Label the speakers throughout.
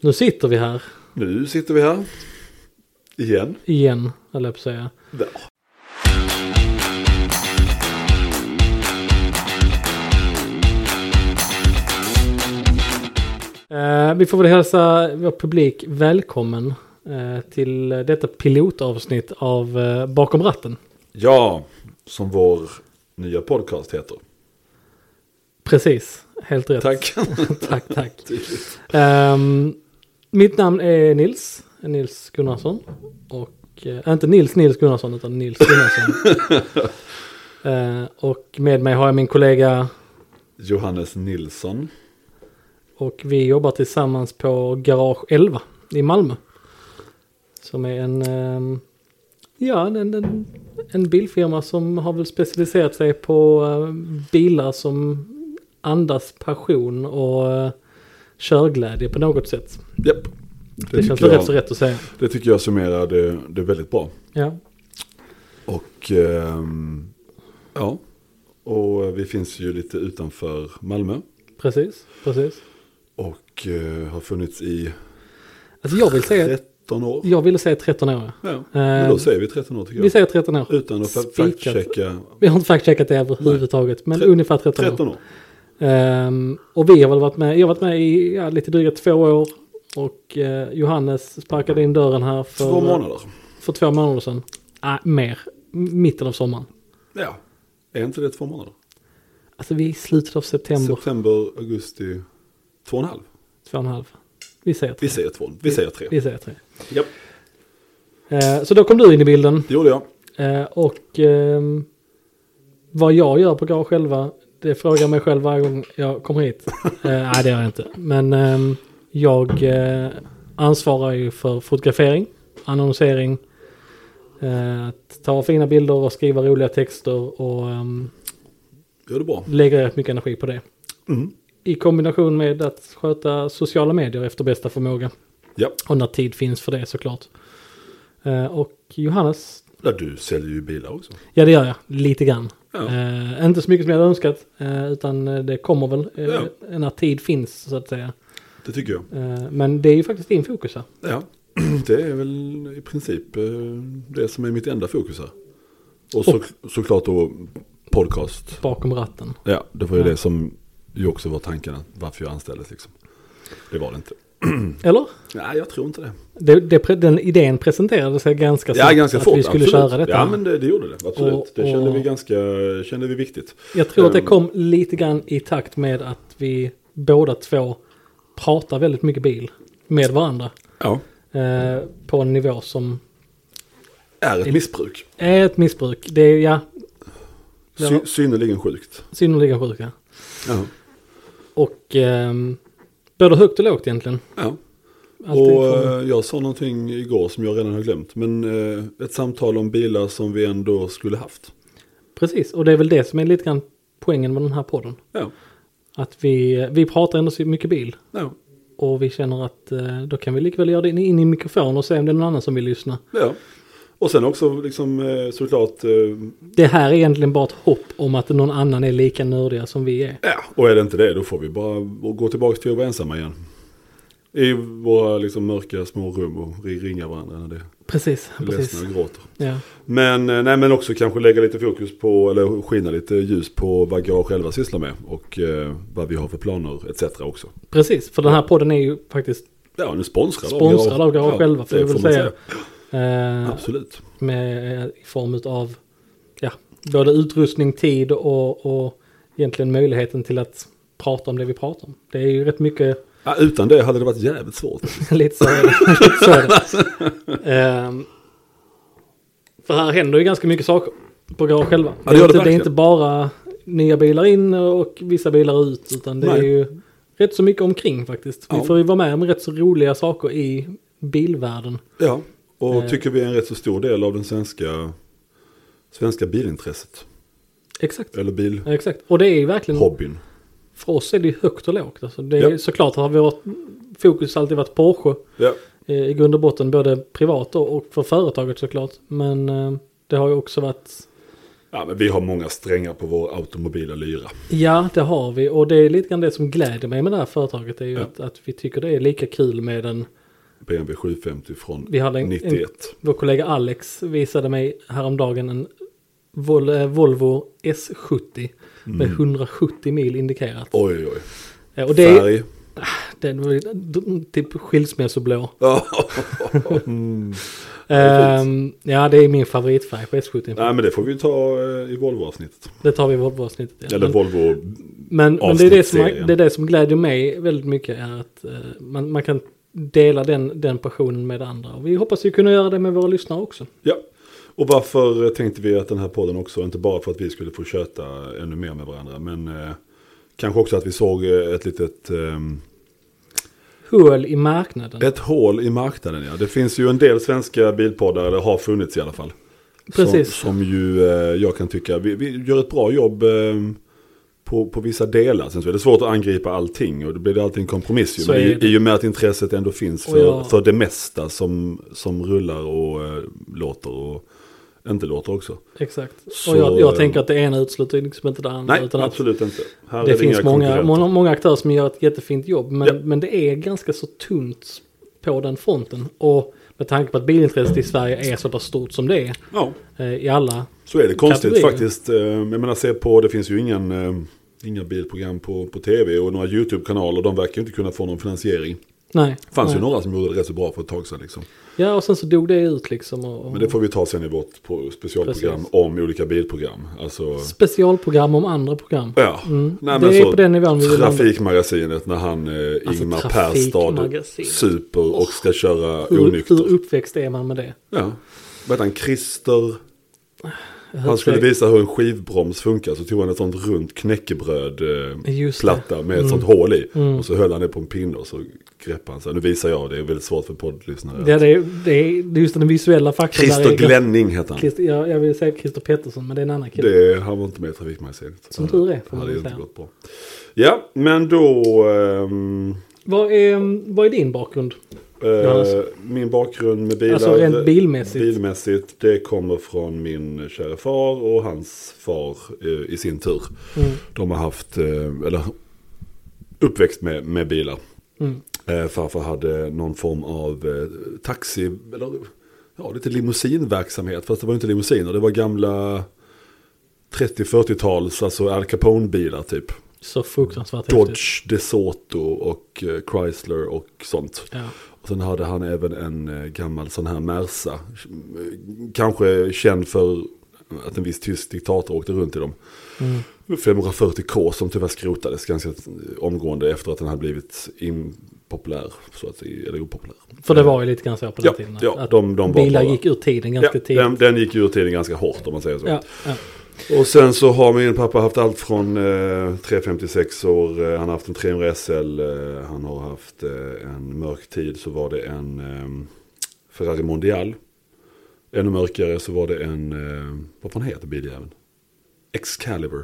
Speaker 1: Nu sitter vi här
Speaker 2: Nu sitter vi här. Igen.
Speaker 1: igen, höll jag på att säga.
Speaker 2: Där.
Speaker 1: Eh, vi får väl hälsa vår publik välkommen eh, till detta pilotavsnitt av eh, Bakom ratten.
Speaker 2: Ja, som vår nya podcast heter.
Speaker 1: Precis, helt rätt.
Speaker 2: Tack.
Speaker 1: tack, tack. Ehm, mitt namn är Nils, Nils Gunnarsson. Och, eh, inte Nils Nils Gunnarsson utan Nils Gunnarsson. Eh, och med mig har jag min kollega
Speaker 2: Johannes Nilsson.
Speaker 1: och vi jobbar tillsammans på Garage 11 i Malmö. Som är en, ehm, ja, en, en, en bilfirma som har väl specialiserat sig på eh, bilar som andas passion och eh, körglädje på något sätt.
Speaker 2: Japp.
Speaker 1: Det, känns
Speaker 2: tycker
Speaker 1: väl
Speaker 2: jag-
Speaker 1: rätt så rätt att säga.
Speaker 2: Det tycker jag summerar det, det väldigt bra.
Speaker 1: Ja,
Speaker 2: Och ehm, ja, och eh, vi finns ju lite utanför Malmö.
Speaker 1: precis. precis.
Speaker 2: Och eh, har funnits i
Speaker 1: Alltså jag vill säga,
Speaker 2: 13 år.
Speaker 1: jag ville säga 13 år.
Speaker 2: Ja, men
Speaker 1: Eh,
Speaker 2: då säger vi 13 år tycker
Speaker 1: Vi
Speaker 2: jag.
Speaker 1: säger 13 år.
Speaker 2: Utan att fa-
Speaker 1: Spikat.
Speaker 2: fact-checka.
Speaker 1: Vi har inte fact-checkat det överhuvudtaget, men
Speaker 2: Tre-
Speaker 1: ungefär 13 år.
Speaker 2: 13 år.
Speaker 1: Ehm, och vi har väl varit med, jag har varit med i ja, lite dryga två år. Och eh, Johannes sparkade in dörren här för
Speaker 2: Två månader.
Speaker 1: för två månader sedan. Nej, mer. M- Mitten av sommaren.
Speaker 2: Ja, är inte det två månader?
Speaker 1: Alltså vi är i slutet av september,
Speaker 2: September, augusti, två och en halv.
Speaker 1: två och en halv. Vi säger tre.
Speaker 2: Vi säger två, vi säger tre.
Speaker 1: Vi säger tre.
Speaker 2: Japp,
Speaker 1: Eh, så då kom du in i bilden.
Speaker 2: det gjorde jag.
Speaker 1: Eh, och ehm, vad jag gör på Garage själva, det frågar jag mig själv varje gång jag kommer hit. Eh, nej, det gör jag inte. Men ehm, jag eh, ansvarar ju för fotografering, annonsering, eh, att ta fina bilder och skriva roliga texter och ehm,
Speaker 2: Gör det bra.
Speaker 1: lägger rätt mycket energi på det.
Speaker 2: Mm.
Speaker 1: I kombination med att sköta sociala medier efter bästa förmåga.
Speaker 2: Ja,
Speaker 1: Och när tid finns för det såklart. Eh, och Johannes,
Speaker 2: där du säljer ju bilar också.
Speaker 1: Ja det gör jag, lite grann.
Speaker 2: Ja.
Speaker 1: Eh, inte så mycket som jag hade önskat, eh, utan eh, det kommer väl eh, när tid finns så att säga.
Speaker 2: Det tycker jag.
Speaker 1: Eh, men det är ju faktiskt din fokus här.
Speaker 2: Ja, det är väl i princip eh, det som är mitt enda fokus här. Och så, såklart då podcast.
Speaker 1: bakom ratten.
Speaker 2: Ja, det var ju
Speaker 1: Ja.
Speaker 2: det som ju också var tanken att varför jag anställdes liksom. Det var det inte.
Speaker 1: Eller?
Speaker 2: Nej, jag tror inte det.
Speaker 1: Det, det, pre- den idén presenterades här ganska
Speaker 2: Ja, ganska
Speaker 1: Alltså, att
Speaker 2: fort.
Speaker 1: vi skulle
Speaker 2: absolut.
Speaker 1: köra detta.
Speaker 2: Ja, men det, det gjorde det. Absolut.
Speaker 1: Och-
Speaker 2: det kände
Speaker 1: och-
Speaker 2: vi ganska, kände vi viktigt.
Speaker 1: Jag tror att det
Speaker 2: Ehm.
Speaker 1: kom lite grann i takt med att vi båda två pratar väldigt mycket bil med varandra.
Speaker 2: Ja.
Speaker 1: Eh, på en nivå som
Speaker 2: Är ett missbruk.
Speaker 1: är ett missbruk. Det är ja, Ja.
Speaker 2: Sy- synnerligen sjukt.
Speaker 1: synnerligen sjuka.
Speaker 2: Ja.
Speaker 1: Och ehm, både högt och lågt egentligen.
Speaker 2: ja.
Speaker 1: Alltid
Speaker 2: Och
Speaker 1: från-
Speaker 2: eh, jag sa någonting igår som jag redan har glömt. Men eh, ett samtal om bilar som vi ändå skulle haft.
Speaker 1: Precis, och det är väl det som är lite grann poängen med den här podden.
Speaker 2: Ja.
Speaker 1: Att vi, vi pratar ändå så mycket bil
Speaker 2: Ja.
Speaker 1: och vi känner att eh, då kan vi lika väl göra det in, in i mikrofon och se om det är någon annan som vill lyssna.
Speaker 2: ja. Och sen också liksom eh, såklart. eh,
Speaker 1: Det här är egentligen bara ett hopp om att någon annan är lika nördiga som vi är.
Speaker 2: Ja. Och är det inte det då får vi bara gå tillbaka till att vara ensamma igen. I våra liksom mörka små rum och ri- ringa varandra när det
Speaker 1: Precis,
Speaker 2: är
Speaker 1: precis.
Speaker 2: ledsna och gråter.
Speaker 1: Ja.
Speaker 2: Men, eh, nej, men också kanske lägga lite fokus på, eller skina lite ljus på vad Garage själva sysslar med och eh, vad vi har för planer etc. också.
Speaker 1: Precis, för den här podden är ju faktiskt
Speaker 2: Ja, nu sponsrar
Speaker 1: sponsrad av Garage själva får
Speaker 2: det
Speaker 1: vi väl
Speaker 2: man
Speaker 1: säga. Eh,
Speaker 2: Absolut.
Speaker 1: med, eh, i form av ja, både utrustning, tid och, och egentligen möjligheten till att prata om det vi pratar om. Det är ju rätt mycket
Speaker 2: Ja, utan det hade det varit jävligt svårt.
Speaker 1: Lite så är det. Lite så är det. Ehm, för här händer ju ganska mycket saker på garage själva.
Speaker 2: Ja, det gör det
Speaker 1: inte, det är
Speaker 2: verkligen.
Speaker 1: inte bara nya bilar in och vissa bilar ut. Utan det är
Speaker 2: Nej.
Speaker 1: ju rätt så mycket omkring faktiskt. Vi
Speaker 2: Ja.
Speaker 1: får ju vara med om rätt så roliga saker i bilvärlden.
Speaker 2: Ja, och
Speaker 1: Eh.
Speaker 2: tycker vi är en rätt så stor del av den svenska, svenska bilintresset.
Speaker 1: Exakt.
Speaker 2: Eller bilhobbyn.
Speaker 1: Exakt. Och det är ju verkligen, för oss är det ju högt och lågt. Alltså det är,
Speaker 2: Ja.
Speaker 1: Såklart har vårt fokus alltid varit Porsche.
Speaker 2: Ja,
Speaker 1: eh, i grund och botten både privat och och för företaget såklart. Men eh, det har ju också varit
Speaker 2: Ja, men vi har många strängar på vår automobila lyra.
Speaker 1: Ja, det har vi. Och det är lite grann det som gläder mig med det här företaget. är ju
Speaker 2: Ja.
Speaker 1: att, att vi tycker det är lika kul med en...
Speaker 2: BMW 750 från
Speaker 1: Vi hade en, en
Speaker 2: 91.
Speaker 1: Vår kollega Alex visade mig häromdagen en Vol eh, Volvo S70
Speaker 2: Mm.
Speaker 1: med 170 mil indikerat.
Speaker 2: Oj, oj, oj.
Speaker 1: Eh, Och det är,
Speaker 2: Färg.
Speaker 1: den var ju d- typ skilsmässoblå.
Speaker 2: mm.
Speaker 1: Ehm, ja, det är min favoritfärg på S70.
Speaker 2: Nej, men det får vi ta eh, i Volvo-avsnittet.
Speaker 1: Det tar vi i Volvo-avsnittet. ja.
Speaker 2: Eller
Speaker 1: Men-
Speaker 2: Volvo.
Speaker 1: Men, men det, är det, som,
Speaker 2: Avsnittsserien.
Speaker 1: det är det som gläder mig väldigt mycket är att eh, man, man kan dela den, den passionen med andra. Och vi hoppas ju kunna göra det med våra lyssnare också.
Speaker 2: Ja. Och varför eh, tänkte vi att den här podden också, inte bara för att vi skulle få köta ännu mer med varandra, men eh, kanske också att vi såg eh, ett litet... ehm,
Speaker 1: Hål i marknaden.
Speaker 2: Ett hål i marknaden ja. Det finns ju en del svenska bilpoddar, eller har funnits i alla fall.
Speaker 1: Precis.
Speaker 2: Som, som ju eh, jag kan tycka, vi, vi gör ett bra jobb eh, på, på vissa delar. Sen så är det svårt att angripa allting och då blir det alltid en kompromiss. Ju.
Speaker 1: Så
Speaker 2: Men
Speaker 1: är
Speaker 2: i,
Speaker 1: det.
Speaker 2: i och med att intresset ändå finns
Speaker 1: Och
Speaker 2: för,
Speaker 1: jag-
Speaker 2: för det mesta som, som rullar och eh, låter och inte låter också.
Speaker 1: Exakt.
Speaker 2: Så-
Speaker 1: och jag, jag tänker att det ena utesluter liksom inte det andra.
Speaker 2: Nej,
Speaker 1: utan att
Speaker 2: absolut inte. Här
Speaker 1: det
Speaker 2: är
Speaker 1: finns
Speaker 2: inga
Speaker 1: många,
Speaker 2: konkurrenter.
Speaker 1: många, många aktörer som gör ett jättefint jobb. Men,
Speaker 2: Ja.
Speaker 1: men det är ganska så tunt på den fronten. Och med tanke på att bilintresset i Sverige är så pass stort som det är
Speaker 2: Ja,
Speaker 1: eh, i alla.
Speaker 2: så är det. Konstigt
Speaker 1: Kategorier.
Speaker 2: faktiskt. Eh, Jag menar, se på, det finns ju ingen, eh, inga bilprogram på, på tv och några YouTube-kanaler. De verkar ju inte kunna få någon finansiering.
Speaker 1: Nej.
Speaker 2: Det fanns
Speaker 1: nej.
Speaker 2: ju några som gjorde det rätt så bra för ett tag sedan. Liksom.
Speaker 1: Ja, och sen så dog det ut liksom. Och, och
Speaker 2: Men det får vi ta sen i vårt pro- specialprogram
Speaker 1: Precis.
Speaker 2: om olika bilprogram. Alltså,
Speaker 1: Specialprogram om andra program.
Speaker 2: ja. Nej, men
Speaker 1: Mm. det är
Speaker 2: så,
Speaker 1: på den nivån vi vill
Speaker 2: Trafikmagasinet när han eh,
Speaker 1: Alltså,
Speaker 2: Ingmar Perstad
Speaker 1: Trafikmagasinet. Oh.
Speaker 2: super och ska köra
Speaker 1: Hur,
Speaker 2: onykter.
Speaker 1: hur uppväxt är man med det?
Speaker 2: Ja. Vad heter han? Christer. Han
Speaker 1: Hur
Speaker 2: skulle
Speaker 1: uppväxt-
Speaker 2: visa hur en skivbroms funkar. Så tog han ett sånt runt knäckebröd eh,
Speaker 1: Just det. Mm.
Speaker 2: platta med ett sånt hål i. Och så höll han det på en pinne och så greppade han. Så här, nu visar jag, det är väldigt svårt för poddlyssnare.
Speaker 1: Ja, det, är, det är det är just den visuella faktorn. där
Speaker 2: Christer
Speaker 1: är-
Speaker 2: Glenning heter han.
Speaker 1: Christer, jag, jag vill säga Christer Pettersson, men det är en annan kille.
Speaker 2: Det, han var inte med i Trafikmagasinet.
Speaker 1: Som tur är,
Speaker 2: Det
Speaker 1: får man
Speaker 2: hade
Speaker 1: väl
Speaker 2: ju inte
Speaker 1: säga.
Speaker 2: gått bra. Ja, men då... ehm,
Speaker 1: Vad är, vad är din bakgrund? Johannes.
Speaker 2: eh, min bakgrund med bilar.
Speaker 1: Alltså rent bilmässigt.
Speaker 2: Bilmässigt, det kommer från min kära far och hans far eh, i sin tur.
Speaker 1: Mm.
Speaker 2: De har haft, eh, eller uppväxt med, med bilar.
Speaker 1: Mm.
Speaker 2: Eh, farfar hade någon form av eh, taxi, eller ja, lite limousinverksamhet. Fast det var inte limousiner, det var gamla 30-40-tals, alltså Al Capone-bilar typ.
Speaker 1: Så fruktansvärt häftigt.
Speaker 2: Dodge, DeSoto och eh, Chrysler och sånt.
Speaker 1: Ja.
Speaker 2: Och sen hade han även en eh, gammal sån här Merca. Eh, Kanske känd för att en viss tysk diktator åkte runt i dem.
Speaker 1: Mm.
Speaker 2: 540K som tyvärr skrotades ganska eh, omgående efter att den hade blivit impopulär. Så att, säga, eller opopulär.
Speaker 1: För det var ju lite grann så på den
Speaker 2: Ja,
Speaker 1: tiden. att-
Speaker 2: ja
Speaker 1: att
Speaker 2: de, de var
Speaker 1: bilar
Speaker 2: bara-
Speaker 1: gick ur tiden
Speaker 2: Ja,
Speaker 1: ganska tidigt.
Speaker 2: den, den gick ju ur tiden ganska hårt om man säger så.
Speaker 1: Ja, ja.
Speaker 2: Och sen så har min pappa haft allt från eh, 356 år, eh, han har haft en 300 SL, eh, han har haft eh, en mörk tid så var det en eh, Ferrari Mondial. Ännu mörkare så var det en, eh, vad fan heter biljäveln? Excalibur.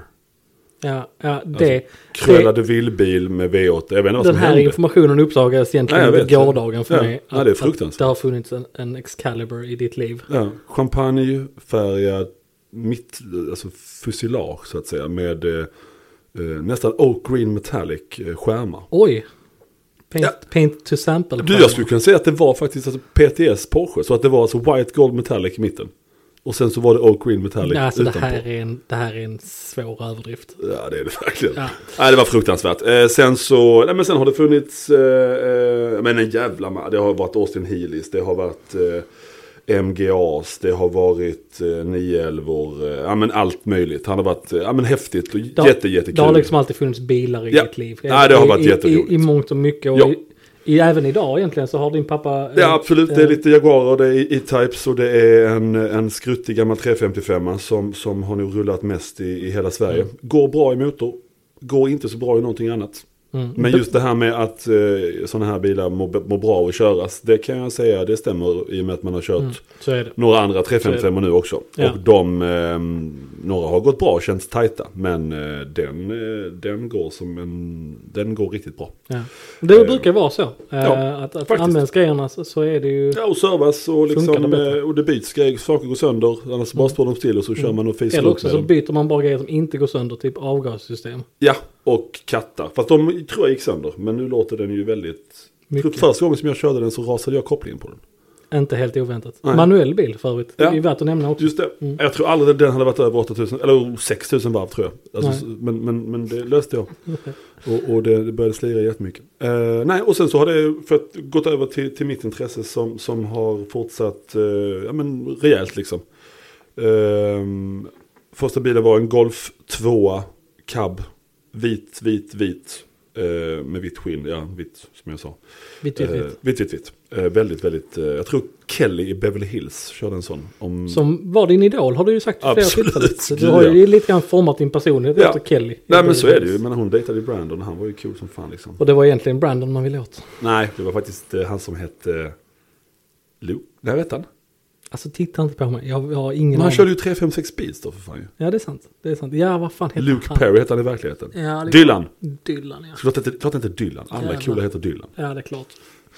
Speaker 1: Ja, ja, det,
Speaker 2: Krölade villbil Alltså, med V8, jag vet inte vad
Speaker 1: den
Speaker 2: som
Speaker 1: här
Speaker 2: hände.
Speaker 1: informationen uppdagades egentligen
Speaker 2: Nej, jag
Speaker 1: under
Speaker 2: vet.
Speaker 1: gårdagen för
Speaker 2: Ja.
Speaker 1: mig.
Speaker 2: Ja, det är
Speaker 1: Att-
Speaker 2: fruktansvärt.
Speaker 1: Att det har funnits en, en Excalibur i ditt liv.
Speaker 2: Ja, champagnefärgad mitt, alltså fusilage så att säga med eh, eh, nästan oak green metallic eh, skärmar.
Speaker 1: Oj! Paint,
Speaker 2: Ja.
Speaker 1: paint to sample.
Speaker 2: Du, jag skulle kunna säga att det var faktiskt alltså PTS Porsche. Så att det var alltså White Gold Metallic i mitten. Och sen så var det Oak Green Metallic
Speaker 1: Nej, alltså det
Speaker 2: utanpå.
Speaker 1: här, är en, det här är en svår överdrift.
Speaker 2: Ja, det är det verkligen.
Speaker 1: Ja.
Speaker 2: Nej, det var fruktansvärt. Eh, sen så, nej men sen har det funnits, eh, eh, men en jävla ma- Det har varit Austin Healys, det har varit eh, MGAs, det har varit eh, 911 eh, ja men allt möjligt. Han har varit, eh, ja men häftigt och
Speaker 1: Det har-
Speaker 2: jätte, jättekul.
Speaker 1: Det har liksom alltid funnits bilar i
Speaker 2: Ja.
Speaker 1: ditt liv.
Speaker 2: Ja, det har
Speaker 1: I,
Speaker 2: varit
Speaker 1: i,
Speaker 2: jätteroligt.
Speaker 1: I, I mångt och mycket. Och
Speaker 2: Ja.
Speaker 1: i, i, även idag egentligen så har din pappa... eh,
Speaker 2: Ja absolut, det är
Speaker 1: eh,
Speaker 2: lite Jaguarer, det är E-Types och det är en, en skruttig gammal 355 som, som
Speaker 1: Mm.
Speaker 2: har nog rullat mest i, i hela Sverige. Går bra i motor, går inte så bra i någonting annat.
Speaker 1: Mm.
Speaker 2: Men just det här med att eh, sådana här bilar mår mår bra av att köras. Det kan jag säga, det stämmer i och med att man har kört
Speaker 1: Mm. Så är det.
Speaker 2: några andra 355 nu också.
Speaker 1: Ja.
Speaker 2: Och de, eh, några har gått bra och känts tajta. Men eh, den, eh, den går som en, den går riktigt bra.
Speaker 1: Ja. Det
Speaker 2: Eh,
Speaker 1: brukar vara så. Eh,
Speaker 2: ja,
Speaker 1: att att
Speaker 2: faktiskt.
Speaker 1: används grejerna så, så är det ju...
Speaker 2: Ja, och servas och,
Speaker 1: Funkar
Speaker 2: liksom,
Speaker 1: det bättre?
Speaker 2: eh, och det byts grejer, saker går sönder. Annars bara står de still och så kör
Speaker 1: Mm.
Speaker 2: man och fiser
Speaker 1: Eller
Speaker 2: upp
Speaker 1: också
Speaker 2: med
Speaker 1: så
Speaker 2: dem.
Speaker 1: byter man bara grejer som inte går sönder, typ avgassystem.
Speaker 2: Ja, och kattar. Fast de tror jag gick sönder. Men nu låter den ju väldigt...
Speaker 1: Mycket.
Speaker 2: Första gången som jag körde den så rasade jag kopplingen på den.
Speaker 1: Inte helt oväntat.
Speaker 2: Nej.
Speaker 1: Manuell bil för övrigt.
Speaker 2: Ja.
Speaker 1: Det är värt att nämna också.
Speaker 2: Just det.
Speaker 1: Mm.
Speaker 2: Jag tror aldrig den hade varit över 8000, eller 6000 varv tror jag. Alltså,
Speaker 1: Nej.
Speaker 2: så- men, men, men det löste jag. Och, och det, det började slira jättemycket. Eh, nej, och sen så har det för att, gått över till, till mitt intresse som, som har fortsatt eh, ja, men, rejält liksom. Ehm, första bilen var en Golf 2 cab. Vit, vit, vit. Eh, med vitt skinn, ja vitt som jag sa.
Speaker 1: Vitt, vitt,
Speaker 2: Eh,
Speaker 1: vitt.
Speaker 2: vitt, vitt, vitt. Eh, väldigt, väldigt. Eh, jag tror Kelly i Beverly Hills körde en sån. Om,
Speaker 1: Som var din idol har du ju sagt vid flera
Speaker 2: Mm. Absolut,
Speaker 1: tillfällen. Så Du
Speaker 2: gud,
Speaker 1: har ju
Speaker 2: ja.
Speaker 1: lite grann format din personlighet
Speaker 2: Ja.
Speaker 1: efter Kelly.
Speaker 2: Nej men så är det ju. Men hon dejtade ju Brandon och han var ju cool som fan liksom.
Speaker 1: Och det var egentligen Brandon man ville åt.
Speaker 2: Nej, det var faktiskt eh, han som hette eh, Lou. Nej, vet han?
Speaker 1: Alltså titta inte på mig, jag, jag har ingen
Speaker 2: Men han
Speaker 1: aning.
Speaker 2: körde ju 356 Speeds då för fan ju.
Speaker 1: Ja det är sant. Det är sant. Ja vad fan heter
Speaker 2: Luke
Speaker 1: han?
Speaker 2: Perry hette han i verkligheten.
Speaker 1: Ja, det-
Speaker 2: Dylan.
Speaker 1: Dylan ja.
Speaker 2: Klart inte, klart inte Dylan. Alla
Speaker 1: Jävlar.
Speaker 2: coola heter Dylan.
Speaker 1: Ja det är klart.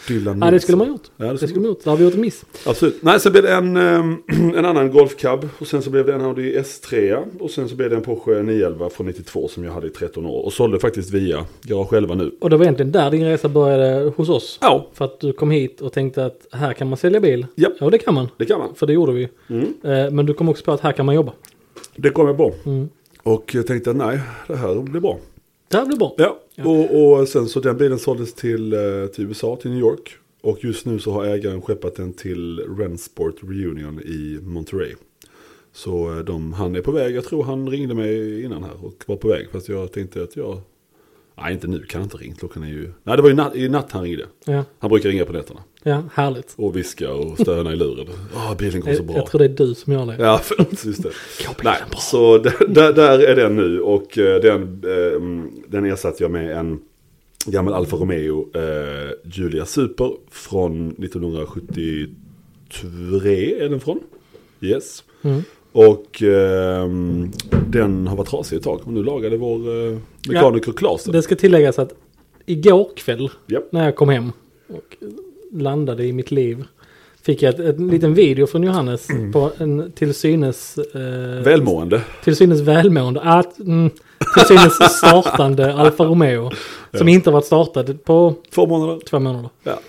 Speaker 2: Dylan
Speaker 1: Ja det
Speaker 2: Nilsson.
Speaker 1: skulle man gjort.
Speaker 2: Mm. Ja, det
Speaker 1: Det
Speaker 2: skulle
Speaker 1: skulle man gjort. Där har vi gjort en miss.
Speaker 2: Absolut. Nej, sen blev det en, ehm, en annan Golf Cab. Och sen så blev det en Audi S3. Och sen så blev det en Porsche 911 från 92 som jag hade i 13 år. Och sålde faktiskt via Garage själva nu.
Speaker 1: Och det var egentligen där din resa började hos oss.
Speaker 2: Ja,
Speaker 1: För att du kom hit och tänkte att här kan man sälja bil.
Speaker 2: Ja.
Speaker 1: Ja det kan man.
Speaker 2: det kan man.
Speaker 1: För det gjorde vi ju.
Speaker 2: Mm.
Speaker 1: Eh, Men du kom också på att här kan man jobba.
Speaker 2: Det kom jag på.
Speaker 1: Mm.
Speaker 2: Och jag tänkte att nej, det här blir bra.
Speaker 1: Det här blir bra.
Speaker 2: Ja,
Speaker 1: Ja.
Speaker 2: och, och sen så den bilen såldes till, eh, till USA, till New York. Och just nu så har ägaren skeppat den till Rensport Reunion i Monterey. Så eh, de, han är på väg, jag tror han ringde mig innan här och var på väg. Fast jag tänkte att jag, nej inte nu kan jag inte ringa, klockan är ju, nej det var ju natt, i natt han ringde.
Speaker 1: Ja,
Speaker 2: Han brukar ringa på nätterna
Speaker 1: ja härligt.
Speaker 2: och viska och stöna i luren. Ah, bilen går så
Speaker 1: Jag,
Speaker 2: bra.
Speaker 1: jag tror det är du som gör det.
Speaker 2: Ja, förlåt, just det.
Speaker 1: Gå bilen
Speaker 2: Nej, så där, där, där är den nu och eh, den, eh, den ersatte jag med en gammal Alfa Romeo eh, Julia Super från 1973 är den från. Yes.
Speaker 1: Mm.
Speaker 2: Och ehm, den har varit trasig ett tag och nu lagade vår eh, mekaniker Claes den.
Speaker 1: Det ska tilläggas att igår kväll
Speaker 2: Japp.
Speaker 1: när jag kom hem och landade i mitt liv fick jag ett, ett liten video från Johannes på en till synes, eh,
Speaker 2: Mm. Välmående.
Speaker 1: till synes välmående, att, mm, till synes startande Alfa Romeo som inte har varit startad på
Speaker 2: Två månader.
Speaker 1: två månader.
Speaker 2: Ja.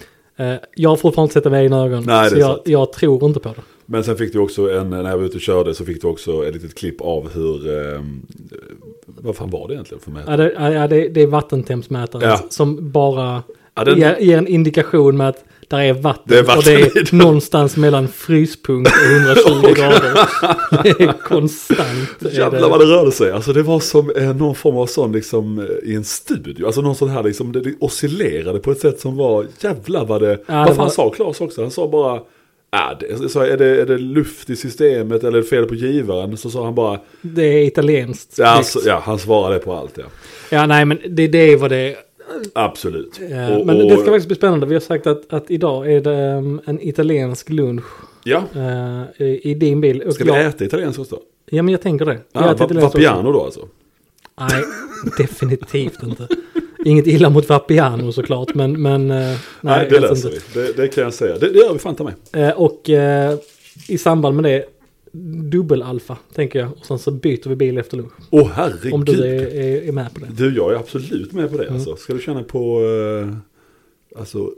Speaker 1: Eh, jag har fortfarande inte sett det med egna ögon,
Speaker 2: Nej, det
Speaker 1: så
Speaker 2: är
Speaker 1: jag,
Speaker 2: sant.
Speaker 1: jag tror inte på det.
Speaker 2: Men sen fick du också en, när jag var ute och körde så fick du också ett litet klipp av hur, ehm, vad fan var det egentligen för mig?
Speaker 1: Ja, det, ja, det, det är vattentempsmätaren
Speaker 2: Ja.
Speaker 1: som bara
Speaker 2: Ja, den-
Speaker 1: ger, ger en indikation med att där är vatten,
Speaker 2: Det är vatten
Speaker 1: och det
Speaker 2: i
Speaker 1: är
Speaker 2: den.
Speaker 1: någonstans mellan fryspunkt och 120 grader. Det är konstant. är
Speaker 2: Jävlar vad det rörde sig. Alltså det var som eh, någon form av sån liksom eh, i en studio. Alltså någon sån här liksom, det, det oscillerade på ett sätt som var jävlar vad det...
Speaker 1: det
Speaker 2: vad fan
Speaker 1: var-
Speaker 2: sa Claes också? Han sa bara, äh, det, så är, det, är det luft i systemet eller är det fel på givaren? Så sa han bara,
Speaker 1: det är italienskt.
Speaker 2: ja,
Speaker 1: snyggt.
Speaker 2: alltså, ja han svarade på allt ja.
Speaker 1: Ja, nej, men det, det är vad det är.
Speaker 2: Absolut.
Speaker 1: Eh, men det ska faktiskt bli spännande. Vi har sagt att, att idag är det ehm, en italiensk lunch
Speaker 2: Ja,
Speaker 1: eh, i, i din bil. Och
Speaker 2: ska vi
Speaker 1: jag,
Speaker 2: äta italienskt också?
Speaker 1: ja, men jag tänker det. Vi
Speaker 2: Ah,
Speaker 1: äter
Speaker 2: va,
Speaker 1: italienskt också.
Speaker 2: Vapiano då alltså?
Speaker 1: Nej, definitivt inte. Inget illa mot Vapiano såklart, men... men eh, nej,
Speaker 2: Nej, det
Speaker 1: helst
Speaker 2: löser vi. Det, det kan jag säga. Det, det gör vi fan ta med.
Speaker 1: Eh, Och eh, i samband med det, dubbel-alfa tänker jag. Och sen så byter vi bil efter lunch.
Speaker 2: Åh herregud.
Speaker 1: Om du Mm. är, är, är med på det.
Speaker 2: Du, jag är absolut med på det. Alltså. Ska du känna på eh, alltså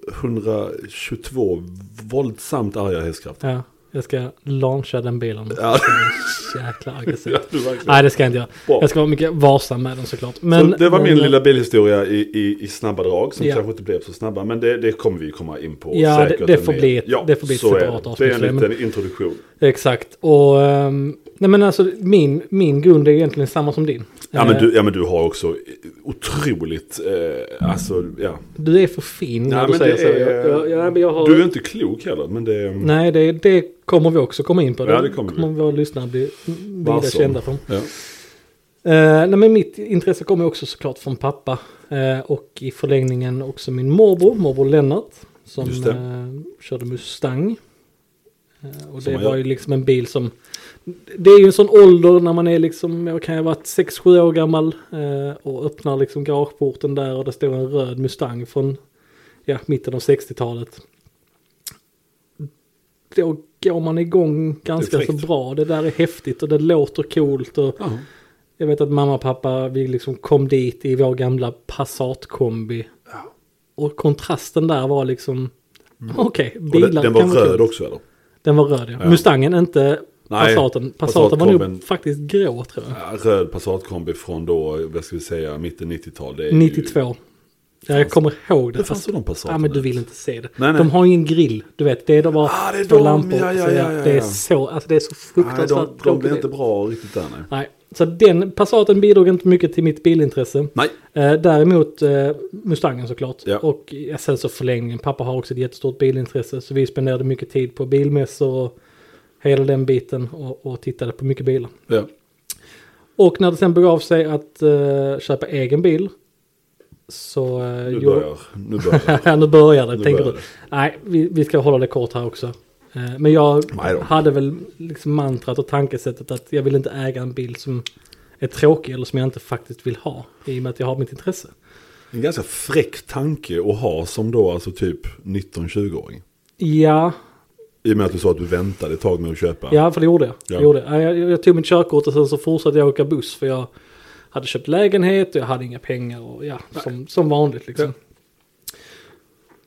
Speaker 2: 122 våldsamt arga hästkrafter?
Speaker 1: Ja, jag ska launcha den bilen.
Speaker 2: Ja.
Speaker 1: Jäkla aggressivt.
Speaker 2: Ja, du verkligen.
Speaker 1: Nej, det ska jag inte göra.
Speaker 2: Bra.
Speaker 1: Jag ska vara mycket varsam med den såklart.
Speaker 2: Så
Speaker 1: Men,
Speaker 2: det var
Speaker 1: men,
Speaker 2: min
Speaker 1: eh,
Speaker 2: lilla bilhistoria i, i, i snabba drag som
Speaker 1: Ja.
Speaker 2: kanske inte blev så snabba. Men det, det kommer vi komma in på
Speaker 1: Ja, det-
Speaker 2: säkert.
Speaker 1: det
Speaker 2: än
Speaker 1: får
Speaker 2: mer.
Speaker 1: bli ett- det får bli ett
Speaker 2: så är
Speaker 1: separat
Speaker 2: det.
Speaker 1: avsnitt
Speaker 2: Det
Speaker 1: för
Speaker 2: är
Speaker 1: det,
Speaker 2: en
Speaker 1: men-
Speaker 2: liten introduktion.
Speaker 1: Exakt, och... ehm, nej men alltså min, min grund är egentligen samma som din.
Speaker 2: Ja men,
Speaker 1: Eh,
Speaker 2: du, ja, men du har också otroligt, eh, alltså, ja.
Speaker 1: Du är för fin när
Speaker 2: Nej,
Speaker 1: du
Speaker 2: men
Speaker 1: säger
Speaker 2: det
Speaker 1: så.
Speaker 2: är-
Speaker 1: Jag, jag, jag, jag har...
Speaker 2: Du är inte klok heller, men det är...
Speaker 1: Nej, det, det Ehm. kommer vi också komma in på.
Speaker 2: Ja, det kommer vi.
Speaker 1: våra lyssnare bli vida
Speaker 2: Varsom.
Speaker 1: kända för.
Speaker 2: Ja.
Speaker 1: Eh, nej, men mitt intresse kommer också såklart från pappa. Eh, och i förlängningen också min morbror, morbror Lennart. Som
Speaker 2: Just det.
Speaker 1: eh, körde Mustang. Eh, och
Speaker 2: Som
Speaker 1: det
Speaker 2: man gör.
Speaker 1: var ju liksom en bil som... Det är ju en sån ålder när man är liksom, jag kan ju ha varit 6-7 år gammal. Eh, och öppnar liksom garageporten där och det står en röd Mustang från ja, mitten av 60-talet. Då går man igång ganska så
Speaker 2: fräckt.
Speaker 1: bra. Det där är häftigt och det låter coolt. Och
Speaker 2: Ja.
Speaker 1: jag vet att mamma och pappa, vi liksom kom dit i vår gamla Passat-kombi.
Speaker 2: Ja. Mm.
Speaker 1: Och kontrasten där var liksom, okej,
Speaker 2: Och
Speaker 1: bilar
Speaker 2: den, den var
Speaker 1: kan vara kul.
Speaker 2: röd också eller?
Speaker 1: Den var röd, ja.
Speaker 2: Ja.
Speaker 1: Mustangen, inte
Speaker 2: Nej,
Speaker 1: Passaten. Passaten var
Speaker 2: Passatkomben.
Speaker 1: nog faktiskt grå, tror jag.
Speaker 2: Ja, Röd Passatkombi från då, vad ska vi säga, mitten 90-tal. Det är
Speaker 1: 92. Ja, jag
Speaker 2: Fanns-
Speaker 1: kommer ihåg
Speaker 2: Ju,
Speaker 1: det.
Speaker 2: det
Speaker 1: fast-
Speaker 2: fanns väl de Passaterna?
Speaker 1: Ja men du vill inte se det.
Speaker 2: Nej, nej.
Speaker 1: De har ju en grill, du vet. Det är de bara
Speaker 2: Ah, det är
Speaker 1: två
Speaker 2: de,
Speaker 1: lampor.
Speaker 2: ja, ja,
Speaker 1: så
Speaker 2: ja, ja,
Speaker 1: Det är
Speaker 2: ja.
Speaker 1: så, alltså det är så
Speaker 2: Nej,
Speaker 1: fruktansvärt
Speaker 2: de, de blev inte bra riktigt där nej.
Speaker 1: Nej, så den Passaten bidrog inte mycket till mitt bilintresse.
Speaker 2: Nej,
Speaker 1: Eh, däremot eh, Mustangen såklart.
Speaker 2: Ja.
Speaker 1: Och eh, sen så förlängningen. Pappa har också ett jättestort bilintresse. Så vi spenderade mycket tid på bilmässor och hela den biten. Och, och tittade på mycket bilar.
Speaker 2: ja.
Speaker 1: Och när det sen begav sig att eh, köpa egen bil. Så... Eh,
Speaker 2: nu
Speaker 1: gjorde-
Speaker 2: börjar, nu börjar.
Speaker 1: Ja, nu börjar det,
Speaker 2: Nu
Speaker 1: tänker
Speaker 2: börjar
Speaker 1: du. Nej, vi, vi ska hålla det kort här också. Eh, Men jag
Speaker 2: Nej då.
Speaker 1: hade väl liksom mantrat och tankesättet att jag vill inte äga en bil som är tråkig eller som jag inte faktiskt vill ha. I och med att jag har mitt intresse.
Speaker 2: En ganska fräck tanke att ha som då alltså typ 19-20-åring.
Speaker 1: Ja,
Speaker 2: I och med att du sa att du väntade ett tag med att köpa.
Speaker 1: ja för det gjorde jag.
Speaker 2: Ja.
Speaker 1: Det gjorde jag. jag. Jag tog mitt körkort och sen så fortsatte jag åka buss för jag hade köpt lägenhet och jag hade inga pengar och ja, som, som vanligt liksom.
Speaker 2: Ja.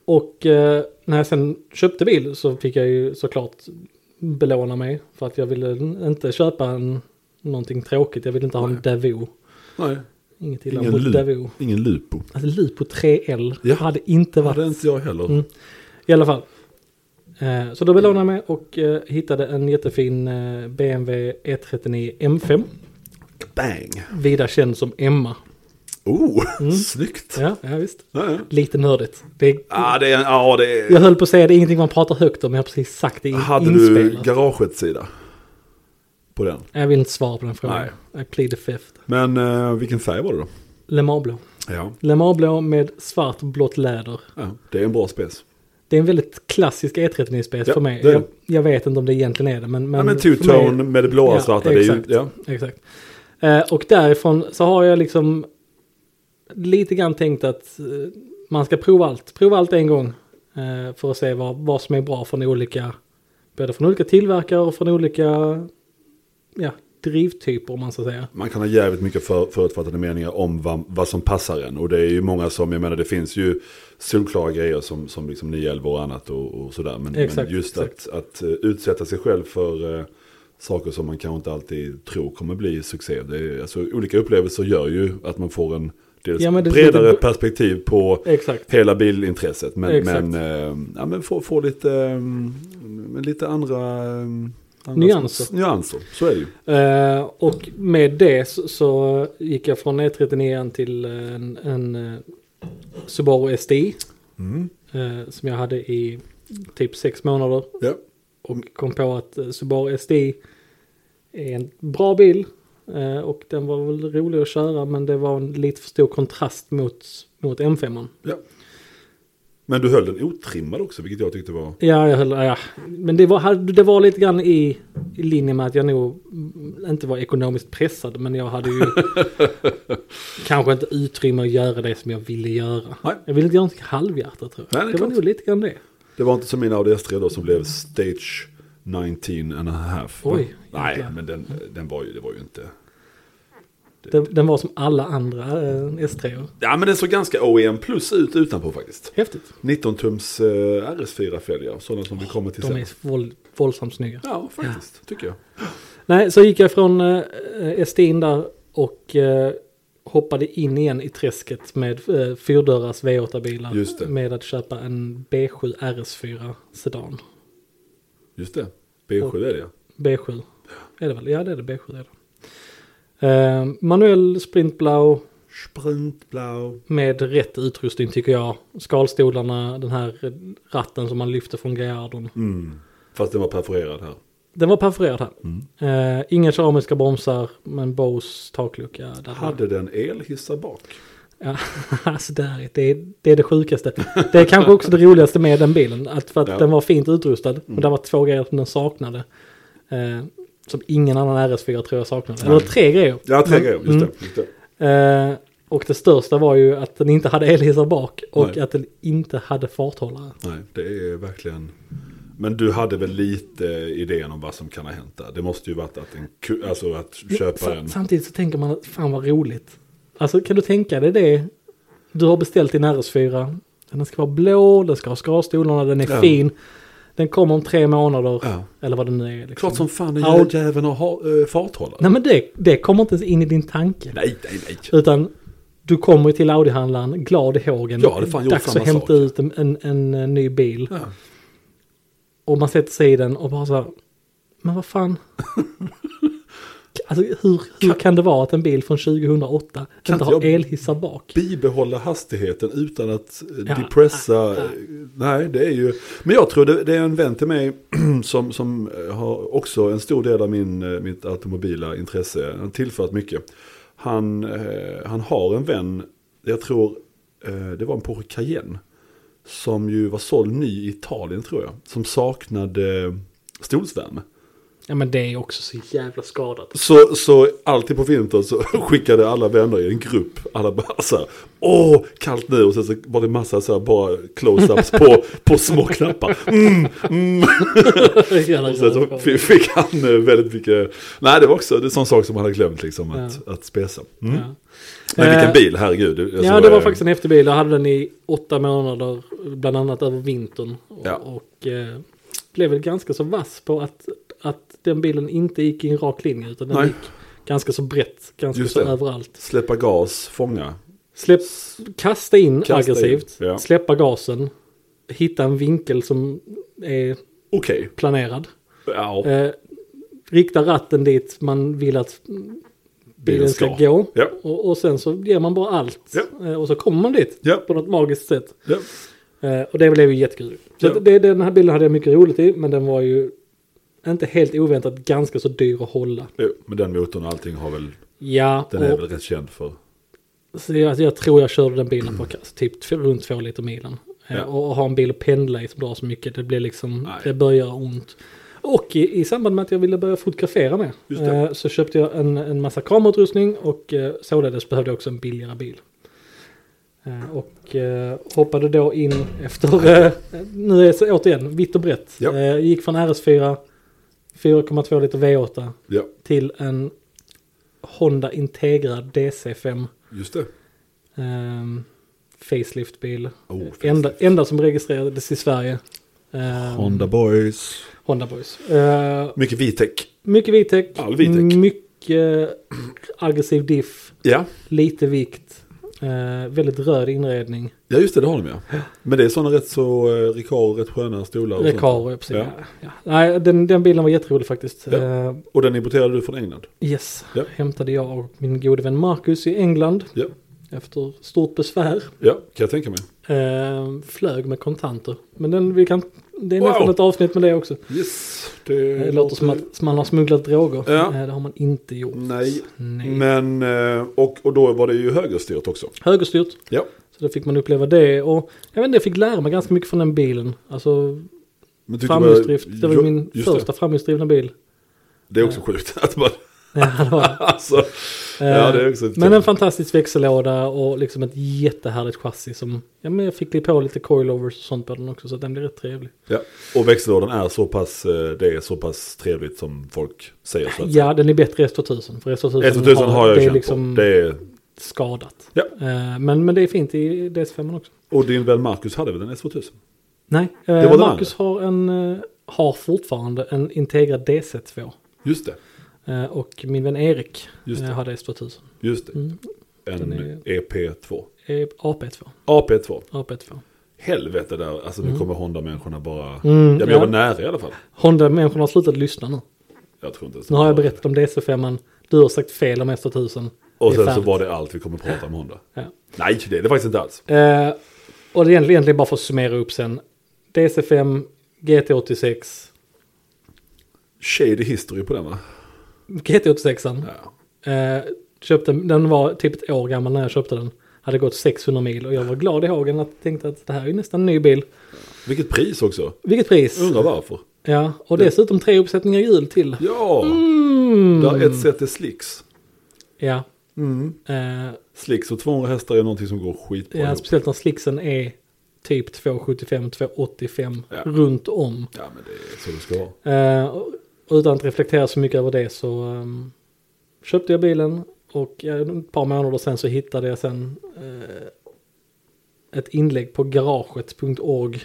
Speaker 1: Och eh, när jag sen köpte bil så fick jag ju såklart belåna mig. För att jag ville inte köpa en, någonting tråkigt. Jag ville inte ha en Davoo.
Speaker 2: Nej,
Speaker 1: Inget illa
Speaker 2: ingen,
Speaker 1: mot
Speaker 2: lu,
Speaker 1: Davoo.
Speaker 2: ingen lupo.
Speaker 1: Alltså Lupo 3L
Speaker 2: Ja.
Speaker 1: hade inte
Speaker 2: Det
Speaker 1: varit
Speaker 2: hade inte jag heller.
Speaker 1: Mm. i alla fall. Eh, så då belånade jag mig och eh, hittade en jättefin eh, BMW E39 M5.
Speaker 2: Bang!
Speaker 1: Vida känd som Emma.
Speaker 2: Oh,
Speaker 1: Mm.
Speaker 2: snyggt!
Speaker 1: Ja, ja visst.
Speaker 2: Ja, ja.
Speaker 1: Lite nördigt. Det är,
Speaker 2: Ah, det är, ja, det
Speaker 1: Jag
Speaker 2: är...
Speaker 1: höll på att säga det är ingenting man pratar högt om. men Jag har precis sagt det i
Speaker 2: Hade du
Speaker 1: inspelat.
Speaker 2: garagets sida? På den.
Speaker 1: Jag vill inte svara på den frågan. I plead the fifth.
Speaker 2: Men eh, vilken färg var det då?
Speaker 1: Le Mans blå.
Speaker 2: Ja.
Speaker 1: Le Mans blå med svart och blått läder.
Speaker 2: ja, det är en bra spec.
Speaker 1: Det är en väldigt klassisk E39-spec
Speaker 2: Ja,
Speaker 1: för mig.
Speaker 2: det är
Speaker 1: Jag,
Speaker 2: det.
Speaker 1: jag vet inte om det egentligen är det. Men, men,
Speaker 2: Ja, men
Speaker 1: för
Speaker 2: two-tone
Speaker 1: mig-
Speaker 2: med det blåa och
Speaker 1: Ja,
Speaker 2: svarta. Det är ju,
Speaker 1: exakt.
Speaker 2: ja.
Speaker 1: Exakt. Eh, och därifrån så har jag liksom lite grann tänkt att eh, man ska prova allt. Prova allt en gång eh, för att se vad, vad som är bra från olika, både från olika tillverkare och från olika ja, drivtyper om man ska säga.
Speaker 2: Man kan ha jävligt mycket för, förutfattade meningar om vad, vad som passar en. Och det är ju många som, jag menar det finns ju solklara grejer som, som liksom 911 och annat och, och sådär. Men,
Speaker 1: Exakt,
Speaker 2: men just
Speaker 1: exakt.
Speaker 2: att, att eh, utsätta sig själv för eh, saker som man kanske inte alltid tror kommer bli succé. Det är, alltså, olika upplevelser gör ju att man får en dels
Speaker 1: Ja, men det-
Speaker 2: bredare
Speaker 1: det-
Speaker 2: perspektiv på
Speaker 1: Exakt.
Speaker 2: hela bilintresset. Men,
Speaker 1: Exakt.
Speaker 2: men, eh, ja, men få, få lite, eh, men lite andra, eh, andra
Speaker 1: Nyanser.
Speaker 2: nyanser. Så är det ju.
Speaker 1: Eh, och med det så, så gick jag från E39 till en, en eh, Subaru STI.
Speaker 2: Mm.
Speaker 1: eh, som jag hade i typ sex månader.
Speaker 2: Ja.
Speaker 1: Och kom på att eh, Subaru STI är en bra bil. eh, Och den var väl rolig att köra men det var en lite för stor kontrast mot, mot M5.
Speaker 2: Ja. Men du höll den otrimmad också, vilket jag tyckte var...
Speaker 1: Ja, jag höll, ja. men det var, hade- det var lite grann i, i linje med att jag nog mm, inte var ekonomiskt pressad. Men jag hade ju kanske inte utrymme att göra det som jag ville göra.
Speaker 2: Nej.
Speaker 1: Jag ville inte göra någonting halvhjärtat tror jag.
Speaker 2: Nej, det är
Speaker 1: det var
Speaker 2: klart.
Speaker 1: nog lite grann det.
Speaker 2: Det var inte som min Audi S3 då som blev Stage 19 and a half. va?
Speaker 1: Oj,
Speaker 2: Nej,
Speaker 1: jävlar.
Speaker 2: men den, eh, den var ju, det var ju inte...
Speaker 1: Den, den var som alla andra eh, S3. -or.
Speaker 2: Ja, men den såg ganska OEM plus ut utanpå faktiskt.
Speaker 1: Häftigt.
Speaker 2: 19-tums eh, RS4-fälgar, sådana som vi kommer till
Speaker 1: De
Speaker 2: sen.
Speaker 1: är våld, våldsamt snygga.
Speaker 2: Ja, faktiskt, tycker jag.
Speaker 1: Nej, så gick jag från eh, Estin där och eh, hoppade in igen i träsket med eh, fyrdörrars
Speaker 2: Just det.
Speaker 1: V8-bilar. Med att köpa en B7 RS4 Sedan.
Speaker 2: Just det, B7 är det ja.
Speaker 1: B7 är det väl? Ja, det är det. B7 är det. Eh, manuell sprintblau
Speaker 2: Sprintblau.
Speaker 1: med rätt utrustning tycker jag. Skalstolarna, den här ratten som man lyfter från Gallardon.
Speaker 2: Mm. Fast den var perforerad här.
Speaker 1: Den var perforerad här.
Speaker 2: Mm.
Speaker 1: Eh, inga keramiska bromsar, men Bose taklucka. Där
Speaker 2: Hade den elhissar bak?
Speaker 1: Ja, alltså det, här, är- det, är, det är det sjukaste. Det är kanske också det roligaste med den bilen. Att för att
Speaker 2: Ja. Mm.
Speaker 1: den var fint utrustad. Och det var två grejer som den saknade. Eh, som ingen annan RS4 tror jag saknade.
Speaker 2: Nej.
Speaker 1: Eller tre grejer.
Speaker 2: Ja, tre
Speaker 1: Men-
Speaker 2: grejer. Just det. Just det.
Speaker 1: Mm. Eh, och det största var ju att den inte hade elhissar bak. Och
Speaker 2: Nej.
Speaker 1: att den inte hade farthållare.
Speaker 2: Nej, det är verkligen... Men du hade väl lite idén om vad som kan ha hänt där? Det måste ju varit att, en, ku- alltså att
Speaker 1: Sa-
Speaker 2: köpa en...
Speaker 1: Samtidigt så tänker man, att fan vad roligt. Alltså kan du tänka dig det? Du har beställt din RS4. Den ska vara blå, den ska ha skralstolarna, den är
Speaker 2: Ja.
Speaker 1: fin. Den kommer om tre månader.
Speaker 2: Ja.
Speaker 1: Eller vad det nu är. Liksom.
Speaker 2: Klart som fan den
Speaker 1: Ja.
Speaker 2: jä- jäveln har uh, farthållare.
Speaker 1: Nej men det, det kommer inte ens in i din tanke.
Speaker 2: Nej, nej, nej.
Speaker 1: Utan du kommer ju till Audi-handlaren glad i hågen.
Speaker 2: Jag hade fan gjort
Speaker 1: Dags
Speaker 2: samma
Speaker 1: att hämta
Speaker 2: sak.
Speaker 1: ut en, en, en, eh, ny bil.
Speaker 2: Ja.
Speaker 1: Och man sätter sig i den och bara så här. Men vad fan. alltså hur, hur kan det vara att en bil från 2008
Speaker 2: Kan
Speaker 1: inte
Speaker 2: inte
Speaker 1: har
Speaker 2: jag-
Speaker 1: elhissar bak?
Speaker 2: Bibehålla hastigheten utan att eh,
Speaker 1: Ja,
Speaker 2: depressa.
Speaker 1: ja, ja.
Speaker 2: Nej, det är ju... Men jag tror det, det är en vän till mig som, som eh, har också en stor del av min, eh, mitt automobila intresse. Han har tillfört mycket. Han, eh, han har en vän, jag tror eh, det var en Porsche Cayenne. Som ju var såld ny i Italien tror jag. Som saknade eh, stolsvärme.
Speaker 1: Ja men det är också så jävla skadat.
Speaker 2: Så, så alltid på vintern så skickade alla vänner i en grupp, alla bara så här, åh, kallt nu, och sen så var det massa så här bara close-ups på, på små knappar. Mm, mm.
Speaker 1: Jävla
Speaker 2: Och sen så
Speaker 1: rövskadat.
Speaker 2: fi- fick han eh, väldigt mycket, nej det var också det är sån sak som han hade glömt liksom att, att spesa. Mm.
Speaker 1: Ja.
Speaker 2: Men
Speaker 1: Eh,
Speaker 2: vilken bil, herregud. Alltså,
Speaker 1: ja, det var
Speaker 2: eh,
Speaker 1: faktiskt en häftig bil. Jag hade den i åtta månader, bland annat över vintern. Och,
Speaker 2: Ja.
Speaker 1: och eh, blev väl ganska så vass på att, att den bilen inte gick i en rak linje, utan den
Speaker 2: Nej.
Speaker 1: gick ganska så brett, ganska
Speaker 2: Just
Speaker 1: så
Speaker 2: det.
Speaker 1: överallt.
Speaker 2: Släppa gas, fånga.
Speaker 1: Släpp, kasta in
Speaker 2: Kasta
Speaker 1: aggressivt,
Speaker 2: in, ja.
Speaker 1: släppa gasen, hitta en vinkel som är
Speaker 2: Okej.
Speaker 1: planerad.
Speaker 2: Ja,
Speaker 1: Eh, rikta ratten dit man vill att bilen ska, gå.
Speaker 2: Ja.
Speaker 1: Och, och sen så ger man bara allt.
Speaker 2: Ja.
Speaker 1: Eh, och så kommer man dit
Speaker 2: Ja.
Speaker 1: på något magiskt sätt.
Speaker 2: ja.
Speaker 1: Eh, och det blev ju jättekul. Så
Speaker 2: Ja.
Speaker 1: att det, den här bilden hade jag mycket roligt i, men den var ju inte helt oväntat ganska så dyr att hålla.
Speaker 2: Jo, Eh, Men den motorn och allting har väl,
Speaker 1: Ja,
Speaker 2: den är
Speaker 1: och,
Speaker 2: väl rätt känd för.
Speaker 1: så jag, jag tror jag körde den bilen på kast, typ t- runt två liter milen. Eh,
Speaker 2: Ja.
Speaker 1: Och, och ha en bil att pendla i som drar så mycket, det blir liksom,
Speaker 2: Nej.
Speaker 1: det börjar ont. Och i, i samband med att jag ville börja fotografera med
Speaker 2: Just det.
Speaker 1: eh, så köpte jag en, en massa kamerautrustning och eh, således behövde jag också en billigare bil. Eh, Och eh, hoppade då in efter, eh, nu är det så, återigen vitt och brett.
Speaker 2: Ja.
Speaker 1: Eh, gick från RS4, 4,2 liter V8
Speaker 2: Ja,
Speaker 1: till en Honda Integra DC5
Speaker 2: just det.
Speaker 1: ehm, faceliftbil.
Speaker 2: Oh, facelift.
Speaker 1: Enda, enda som registrerades i Sverige. Ehm,
Speaker 2: Honda Boys.
Speaker 1: Honda Boys. Eh,
Speaker 2: Mycket Vitec.
Speaker 1: mycket vitek,
Speaker 2: All vitek.
Speaker 1: mycket aggressiv diff,
Speaker 2: Ja.
Speaker 1: lite vikt, eh, väldigt röd inredning.
Speaker 2: ja, just det, det har de ja. Men det är sådana rätt så eh, Recaro, rätt sköna stolar. och sånt.
Speaker 1: Recaro, ja, precis.
Speaker 2: Ja.
Speaker 1: Ja. Ja. Nej, den, den bilen var jätterolig faktiskt.
Speaker 2: Ja.
Speaker 1: Eh,
Speaker 2: Och den importerade du från England?
Speaker 1: yes,
Speaker 2: Ja.
Speaker 1: hämtade jag och min gode vän Marcus i England
Speaker 2: Ja,
Speaker 1: efter stort besvär.
Speaker 2: ja kan jag tänka mig.
Speaker 1: Eh, flög med kontanter. Men den, vi kan, det är
Speaker 2: Wow.
Speaker 1: nästan ett avsnitt med det också.
Speaker 2: Yes,
Speaker 1: Det låter som att man har smugglat droger.
Speaker 2: Eh, Ja.
Speaker 1: Eh, Det har man inte gjort.
Speaker 2: Nej.
Speaker 1: Nej.
Speaker 2: Men, eh, och, och då var det ju högerstyrt också.
Speaker 1: Högerstyrt.
Speaker 2: Ja.
Speaker 1: Så då fick man uppleva det. Och jag vet inte, jag fick lära mig ganska mycket från den bilen. Alltså
Speaker 2: Men tyckte
Speaker 1: framhjulsdrift.
Speaker 2: bara-
Speaker 1: Det var ju min
Speaker 2: just
Speaker 1: första framhjulsdrivna bil.
Speaker 2: Det, det är också sjukt. Att man,
Speaker 1: Ja, det var det.
Speaker 2: alltså, ja, det är också
Speaker 1: Men en fantastisk växellåda och liksom ett jättehärligt chassi som... Ja, men jag fick lite på lite coilovers och sånt på den också så att den blev rätt trevlig.
Speaker 2: ja. Och växellådan är så pass, eh, det är så pass trevligt som folk säger. Så att,
Speaker 1: Ja, den är bättre i S2000. För S2000,
Speaker 2: S1000 har jag
Speaker 1: det är
Speaker 2: känt
Speaker 1: liksom
Speaker 2: på. Det är,
Speaker 1: skadat.
Speaker 2: Ja.
Speaker 1: Eh, Men, men det är fint i DS5 också.
Speaker 2: och din vän Marcus hade väl en S2000?
Speaker 1: Nej,
Speaker 2: var
Speaker 1: eh,
Speaker 2: den
Speaker 1: Marcus har, en, eh, har fortfarande en Integra DC2.
Speaker 2: Just det.
Speaker 1: Eh, Och min vän Erik
Speaker 2: Just det.
Speaker 1: eh, hade S2000.
Speaker 2: Just det.
Speaker 1: Mm.
Speaker 2: En E
Speaker 1: Den är-
Speaker 2: EP2.
Speaker 1: Eh, AP2.
Speaker 2: AP2.
Speaker 1: AP2.
Speaker 2: Helvete där. Alltså nu kommer Honda-människorna bara...
Speaker 1: Mm,
Speaker 2: ja, men
Speaker 1: ja.
Speaker 2: jag var nära i alla fall.
Speaker 1: Honda-människorna har slutat lyssna nu.
Speaker 2: Jag tror inte ens
Speaker 1: Nu har jag berättat om DC5. Du har sagt fel om S2000.
Speaker 2: Och
Speaker 1: Det är
Speaker 2: sen så
Speaker 1: färdigt.
Speaker 2: var det allt vi kommer prata om Honda.
Speaker 1: Ja.
Speaker 2: Nej, det är det faktiskt inte alls.
Speaker 1: Eh, och det är egentligen, egentligen bara för att summera upp sen. DC5, GT86,
Speaker 2: shady history på den va?
Speaker 1: GT86an.
Speaker 2: Ja.
Speaker 1: Eh, köpte, den var typ ett år gammal när jag köpte den. Hade gått 600 mil och jag var glad i hågen att tänkte att det här är ju nästan en ny bil.
Speaker 2: Vilket pris också.
Speaker 1: Vilket pris!
Speaker 2: Undrar varför.
Speaker 1: Ja, och dessutom tre uppsättningar hjul till.
Speaker 2: Ja,
Speaker 1: Mm.
Speaker 2: där ett sätt är slicks.
Speaker 1: Ja. Eh,
Speaker 2: Slicks och 200 hästar är någonting som går skitbra
Speaker 1: ja,
Speaker 2: ihop.
Speaker 1: speciellt när slixen är typ 275, 285
Speaker 2: Ja.
Speaker 1: runt om.
Speaker 2: Ja, men det är så det ska vara.
Speaker 1: Eh, och och utan att reflektera så mycket över det så ehm, köpte jag bilen och eh, ett par månader sen så hittade jag sen eh, ett inlägg på garaget.org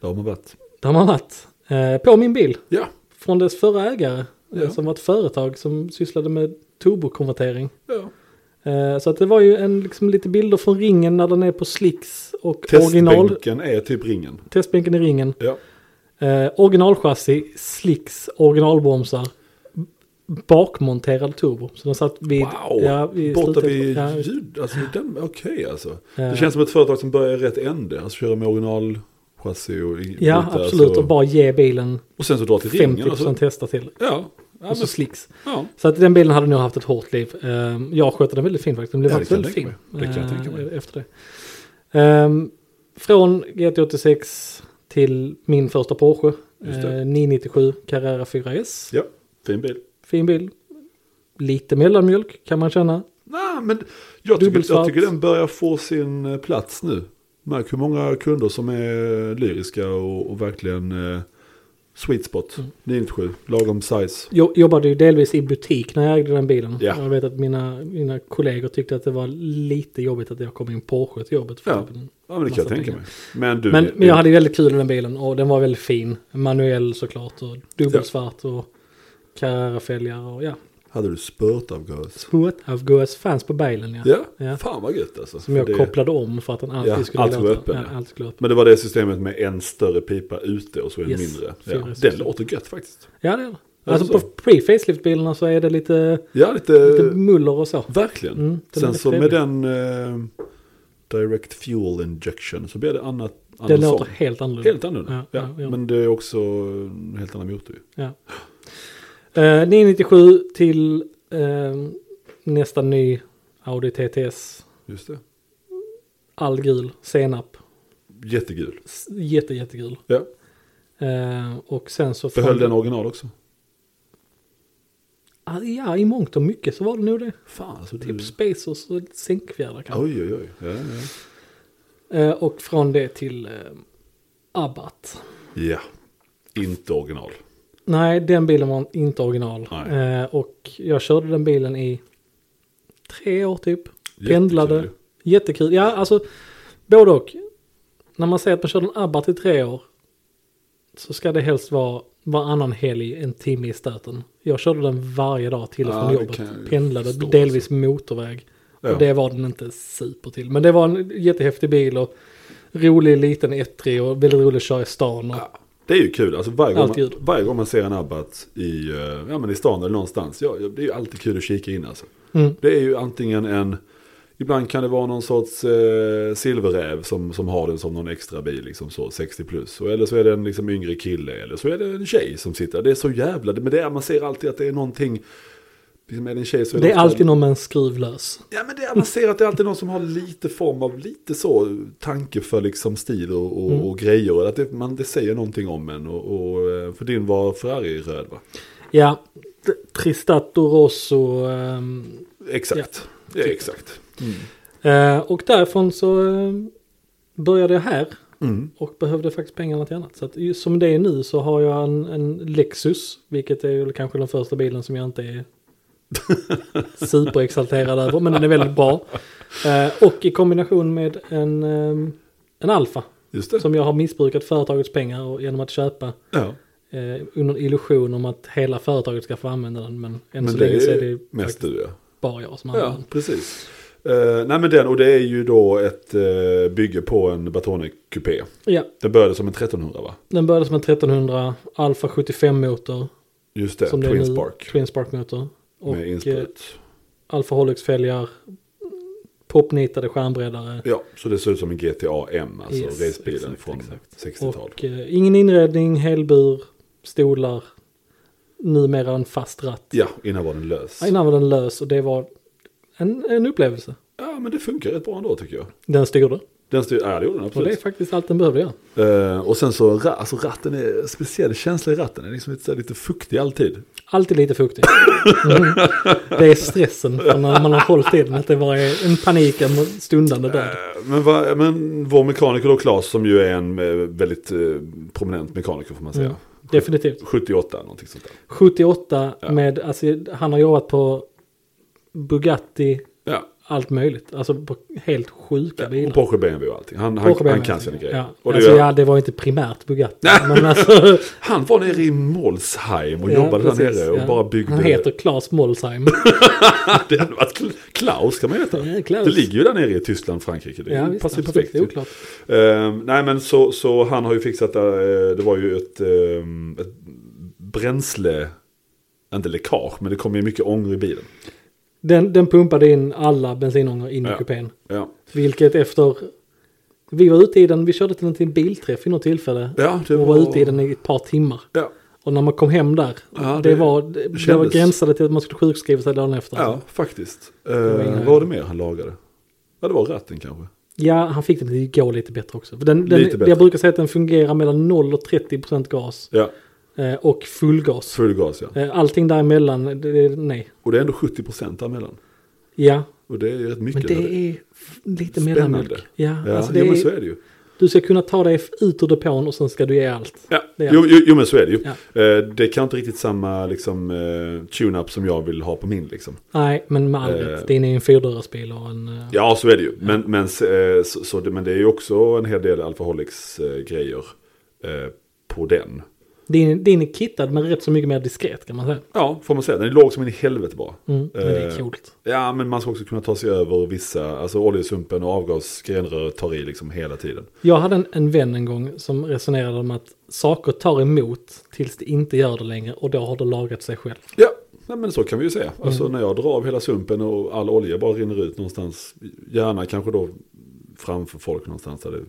Speaker 2: Där har man varit.
Speaker 1: där man varit eh, på min bil
Speaker 2: Ja,
Speaker 1: från dess förra ägare eh,
Speaker 2: Ja.
Speaker 1: som var ett företag som sysslade med turbokonvertering.
Speaker 2: ja.
Speaker 1: Eh, så att det var ju en, liksom, lite bilder från ringen när den är på slicks och original.
Speaker 2: Testbänken är typ ringen.
Speaker 1: Testbänken i ringen.
Speaker 2: Ja.
Speaker 1: Eh, originalchassi, slicks, originalbromsar. b- Bakmonterad turbo. Så den satt vid...
Speaker 2: Wow,
Speaker 1: ja, vid
Speaker 2: borta
Speaker 1: slutet-
Speaker 2: vid
Speaker 1: ja,
Speaker 2: ljud. Alltså, den- Okej alltså.
Speaker 1: Eh.
Speaker 2: Det känns som ett företag som börjar i rätt ände. Alltså köra med original chassi och i-
Speaker 1: ja,
Speaker 2: bitar,
Speaker 1: absolut.
Speaker 2: så-
Speaker 1: Och bara ge bilen
Speaker 2: och sen så dra till ringen.
Speaker 1: 50%
Speaker 2: Alltså.
Speaker 1: testa till.
Speaker 2: Ja, ja,
Speaker 1: Och så
Speaker 2: men,
Speaker 1: slicks.
Speaker 2: ja.
Speaker 1: Så att den bilen hade nog haft ett hårt liv. Ehm, Jag skötte den väldigt fint faktiskt. Den blev
Speaker 2: Ja, det
Speaker 1: faktiskt
Speaker 2: kan
Speaker 1: väldigt
Speaker 2: jag
Speaker 1: fin.
Speaker 2: tänka mig. Det kan jag tänka mig.
Speaker 1: eh, Efter det. Ehm, Från GT86 till min första Porsche.
Speaker 2: Just det.
Speaker 1: eh, 997 Carrera 4S.
Speaker 2: ja, fin bil.
Speaker 1: Fin bil. Lite mellanmjölk kan man känna.
Speaker 2: Nej, men jag tycker,
Speaker 1: Dubbelsvart.
Speaker 2: jag tycker den börjar få sin eh, plats nu. Märk hur många kunder som är lyriska och, och verkligen eh, sweet spot.
Speaker 1: Mm.
Speaker 2: 997, lagom size.
Speaker 1: Jag jobbade ju delvis i butik när jag ägde den bilen.
Speaker 2: Ja.
Speaker 1: Jag vet att mina, mina kollegor tyckte att det var lite jobbigt att jag kom i en Porsche till jobbet. För
Speaker 2: Ja.
Speaker 1: typ en-
Speaker 2: Ja, men det kan jag
Speaker 1: Massa
Speaker 2: tänka
Speaker 1: pengar.
Speaker 2: mig. Men du, eh,
Speaker 1: Men,
Speaker 2: det-
Speaker 1: men jag hade ju väldigt kul i den bilen och den var väldigt fin. Manuell såklart och dubbelsvart och Carrera-fälgar och ja.
Speaker 2: hade du spörtavgas?
Speaker 1: Spåtavgas fanns på bilen ja.
Speaker 2: Ja.
Speaker 1: Ja.
Speaker 2: fan vad gött alltså.
Speaker 1: Som jag
Speaker 2: För det-
Speaker 1: kopplade om för att den alltid
Speaker 2: Ja,
Speaker 1: skulle
Speaker 2: allt var
Speaker 1: låta.
Speaker 2: öppen, ja.
Speaker 1: ja, allt skulle låta.
Speaker 2: Men det var det systemet med en större pipa ute och så en
Speaker 1: Yes,
Speaker 2: mindre.
Speaker 1: fyra
Speaker 2: Ja. Den
Speaker 1: system.
Speaker 2: låter gött faktiskt.
Speaker 1: Ja det är det.
Speaker 2: det
Speaker 1: Alltså
Speaker 2: så? Eh,
Speaker 1: på pre-facelift-bilerna så är det lite,
Speaker 2: Ja, lite,
Speaker 1: lite muller och så.
Speaker 2: verkligen.
Speaker 1: Mm, den är
Speaker 2: Sen så med
Speaker 1: trevlig.
Speaker 2: den eh, direct fuel injection så blir det annat.
Speaker 1: Den
Speaker 2: annan
Speaker 1: låter
Speaker 2: sång.
Speaker 1: helt annorlunda.
Speaker 2: Helt annorlunda.
Speaker 1: Ja,
Speaker 2: Ja,
Speaker 1: ja, ja.
Speaker 2: Men det är också en helt annan motor ju.
Speaker 1: Ja. Eh, 997 till eh, nästa ny Audi TTS.
Speaker 2: Just det.
Speaker 1: All gul, senap.
Speaker 2: Jättegul.
Speaker 1: S- Jätte, jättegul.
Speaker 2: Ja.
Speaker 1: Eh, och sen så...
Speaker 2: Behöll den original också.
Speaker 1: Ah, ja, i mångt och mycket så var det nog det.
Speaker 2: Fan alltså. Du...
Speaker 1: Typ spacers och lite sänkfjädrar kanske.
Speaker 2: Oj oj oj. Ja, ja.
Speaker 1: Eh, och från det till eh, Abbat.
Speaker 2: ja. Inte original.
Speaker 1: Nej, den bilen var inte original.
Speaker 2: Nej.
Speaker 1: Eh, och jag körde den bilen i tre år typ. Pendlade.
Speaker 2: Jättekul.
Speaker 1: Jättekul. Ja, alltså både och. När man säger att man körde en Abbat i tre år så ska det helst vara varannan helg en timme i stöten. Jag körde den varje dag till och
Speaker 2: Ja,
Speaker 1: från
Speaker 2: det
Speaker 1: jobbet.
Speaker 2: kan jag ju
Speaker 1: Pendlade
Speaker 2: förstå, alltså.
Speaker 1: delvis motorväg.
Speaker 2: Ja.
Speaker 1: Och det var den inte super till. Men det var en jättehäftig bil och rolig liten ettrig och väldigt rolig att köra i stan. Och,
Speaker 2: Ja, det är ju kul. Alltså varje, gång
Speaker 1: Alltid
Speaker 2: man,
Speaker 1: kul.
Speaker 2: varje gång man ser en abbat i, eh, ja, men i stan eller någonstans. Ja, ja, det är ju alltid kul att kika in alltså.
Speaker 1: Mm.
Speaker 2: Det är ju antingen en, ibland kan det vara någon sorts eh, silverräv som, som har den som någon extra bil, liksom så 60 plus. Och, eller så är det en liksom, yngre kille, eller så är det en tjej som sitter. Det är så jävla, men det är, man ser alltid att det är någonting, liksom, är det en tjej så är det,
Speaker 1: det är
Speaker 2: ofta en-
Speaker 1: alltid någon med en skruv lös.
Speaker 2: Ja men det, man ser att det är alltid någon som har lite form av, lite så, tanke för liksom stil och,
Speaker 1: Mm.
Speaker 2: och, och grejer. Att det, man, det säger någonting om en. Och, och eh, för din var Ferrari röd va?
Speaker 1: Ja, t- Tristato Rosso. ehm,
Speaker 2: Exakt. Ja,
Speaker 1: typ.
Speaker 2: exakt.
Speaker 1: Eh, och därifrån så eh, började jag här
Speaker 2: Mm.
Speaker 1: och behövde faktiskt pengarna till annat. Så att ju- som det är nu så har jag en, en Lexus, vilket är väl kanske den första bilen som jag inte är superexalterad över, men den är väldigt bra. Eh, och i kombination med en, eh, en Alfa,
Speaker 2: Just det.
Speaker 1: som jag har missbrukat företagets pengar och genom att köpa
Speaker 2: ja.
Speaker 1: eh, under illusion om att hela företaget ska få använda den, men än
Speaker 2: Men
Speaker 1: så
Speaker 2: det
Speaker 1: länge så är
Speaker 2: är
Speaker 1: det
Speaker 2: mest
Speaker 1: faktiskt
Speaker 2: du ja.
Speaker 1: bara jag som använder
Speaker 2: Ja,
Speaker 1: den.
Speaker 2: precis. Eh, nej men den, och det är ju då ett eh, bygge på en Batonic kupé.
Speaker 1: Ja,
Speaker 2: Det började som en 1300 va?
Speaker 1: Den började som en 1300 Alfa 75 motor.
Speaker 2: Just det,
Speaker 1: som det är
Speaker 2: Eh, Twin
Speaker 1: nu,
Speaker 2: Spark.
Speaker 1: Twin Spark motor. Och
Speaker 2: Med
Speaker 1: eh,
Speaker 2: insprut.
Speaker 1: Alfa Holux fälgar. Popnitade skärmbreddare.
Speaker 2: Ja, så det ser ut som en GTA M, alltså
Speaker 1: Yes,
Speaker 2: racebilen
Speaker 1: exakt,
Speaker 2: från
Speaker 1: exakt.
Speaker 2: 60-talet.
Speaker 1: Och eh, ingen inredning, helbur, stolar. numera en fast ratt.
Speaker 2: Ja, innan var den lös.
Speaker 1: Innan var den lös och det var en, en upplevelse.
Speaker 2: Ja, men det funkar rätt bra ändå tycker jag.
Speaker 1: Den styrde.
Speaker 2: Den styr, ja, det gjorde den
Speaker 1: Och det är
Speaker 2: absolut.
Speaker 1: faktiskt allt den behövde göra.
Speaker 2: Eh, och sen så, ra- alltså ratten är speciell känsla i ratten. Den är liksom lite, så här lite fuktig alltid.
Speaker 1: Alltid lite fuktig. Mm. Det är stressen från när man har hållit i den. Att det bara är en panik, en stundande död.
Speaker 2: Eh, Men, va, men vår mekaniker då, Claes, som ju är en eh, väldigt eh, prominent mekaniker får man säga.
Speaker 1: Mm. Definitivt.
Speaker 2: 78 någonting sånt där.
Speaker 1: 78
Speaker 2: Ja.
Speaker 1: med, alltså han har jobbat på Bugatti,
Speaker 2: Ja.
Speaker 1: allt möjligt. Alltså på helt sjuka bilar.
Speaker 2: Och Porsche BMW och allting. Han,
Speaker 1: Porsche
Speaker 2: han, han
Speaker 1: BMW.
Speaker 2: kan sina grejer.
Speaker 1: Ja.
Speaker 2: Och det
Speaker 1: alltså,
Speaker 2: gör-
Speaker 1: ja, det var inte primärt Bugatti. men alltså,
Speaker 2: Han var nere i Molsheim och
Speaker 1: Ja,
Speaker 2: jobbade där
Speaker 1: precis,
Speaker 2: nere och
Speaker 1: ja.
Speaker 2: bara byggde.
Speaker 1: Han heter Claes Molsheim.
Speaker 2: det hade varit Kl- Klaus kan man heta.
Speaker 1: Ja, Klaus.
Speaker 2: Det ligger ju där nere i Tyskland, Frankrike. Det
Speaker 1: ja, visst,
Speaker 2: passar ju
Speaker 1: absolut.
Speaker 2: perfekt.
Speaker 1: Det är
Speaker 2: ju.
Speaker 1: oklart.
Speaker 2: Ehm, nej men så, så han har ju fixat, eh, det var ju ett, ehm, ett bränsle, inte läckage, men det kom ju mycket ångor i bilen.
Speaker 1: Den, den pumpade in alla bensinångor in
Speaker 2: Ja.
Speaker 1: i kupén.
Speaker 2: Ja,
Speaker 1: Vilket efter... Vi var ute i den, vi körde till den till en bilträff i något tillfälle.
Speaker 2: ja det
Speaker 1: och var ute i den i ett par timmar.
Speaker 2: Ja,
Speaker 1: Och när man kom hem där,
Speaker 2: Ja,
Speaker 1: det,
Speaker 2: det
Speaker 1: var, det, det var
Speaker 2: kändes.
Speaker 1: gränsade till att man skulle sjukskriva sig dagen efter.
Speaker 2: ja faktiskt. Ehm,
Speaker 1: Alltså. var ingen-
Speaker 2: vad var det mer han lagade? Ja, det var ratten kanske.
Speaker 1: Ja, han fick den att gå lite bättre också. För Den, den,
Speaker 2: Lite bättre.
Speaker 1: Jag brukar säga att den fungerar mellan 0 och 30 procent gas
Speaker 2: Ja,
Speaker 1: eh, och fullgas.
Speaker 2: full gas ja.
Speaker 1: Eh, allting däremellan, det, det, nej.
Speaker 2: Och det är ändå 70% däremellan.
Speaker 1: Ja,
Speaker 2: Och det är ju rätt mycket.
Speaker 1: men det
Speaker 2: eller?
Speaker 1: är f- lite
Speaker 2: Spännande.
Speaker 1: mellanmjölk. Ja,
Speaker 2: Ja,
Speaker 1: alltså det
Speaker 2: jo, men så
Speaker 1: är,
Speaker 2: är det ju.
Speaker 1: du ska kunna ta dig ut ur depån och sen ska du ge allt.
Speaker 2: Ja.
Speaker 1: Det är-
Speaker 2: Jo, jo, jo, men så är det ju.
Speaker 1: Ja.
Speaker 2: Eh, det kan inte riktigt samma liksom, eh, tune-up som jag vill ha på min. Liksom.
Speaker 1: Nej, men med all rätt.
Speaker 2: Eh.
Speaker 1: Din är en fyrdörrarsbil och en... eh,
Speaker 2: Ja, så är det ju. Men, men, s- eh, så, så, det- men det är ju också en hel del alkoholics-grejer eh, på den.
Speaker 1: Din, din är kittad men rätt så mycket mer diskret kan man säga.
Speaker 2: Ja, får man säga. Den är låg som en i helvete bara.
Speaker 1: Mm, men det är
Speaker 2: Eh,
Speaker 1: coolt.
Speaker 2: Ja, men man ska också kunna ta sig över vissa, alltså oljesumpen och avgasgrenröret tar i liksom hela tiden.
Speaker 1: Jag hade en, en vän en gång som resonerade om att saker tar emot tills det inte gör det längre och då har det lagat sig själv.
Speaker 2: Ja, nej, men så kan vi ju säga.
Speaker 1: Mm.
Speaker 2: Alltså när jag drar av hela sumpen och all olja bara rinner ut någonstans, gärna kanske då framför folk någonstans där det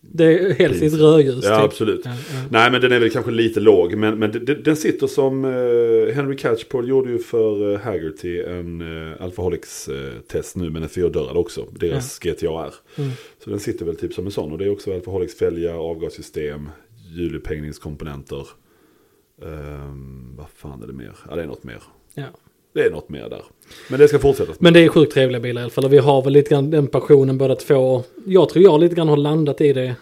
Speaker 1: Det är helst i ett
Speaker 2: Precis.
Speaker 1: rödljus.
Speaker 2: Ja,
Speaker 1: typ.
Speaker 2: absolut.
Speaker 1: Ja, ja.
Speaker 2: Nej, men den är väl kanske lite låg. Men, men den- den, den sitter som eh, Henry Catchpole gjorde ju för eh, Haggerty en eh, Alphaholics-test nu med en fyrdörrad också. Deras GTAR.
Speaker 1: Mm.
Speaker 2: Så den sitter väl typ som en sån. Och det är också Alphaholics-fälgar, avgassystem, hjulupphängningskomponenter. Ehm, vad fan är det mer? Ja, det är något mer.
Speaker 1: Ja.
Speaker 2: Det är något mer där. Men det ska fortsätta.
Speaker 1: Men det är sjukt trevliga bilar i alla fall. Och vi har väl lite grann den passionen båda två. Jag tror jag lite grann har landat i det.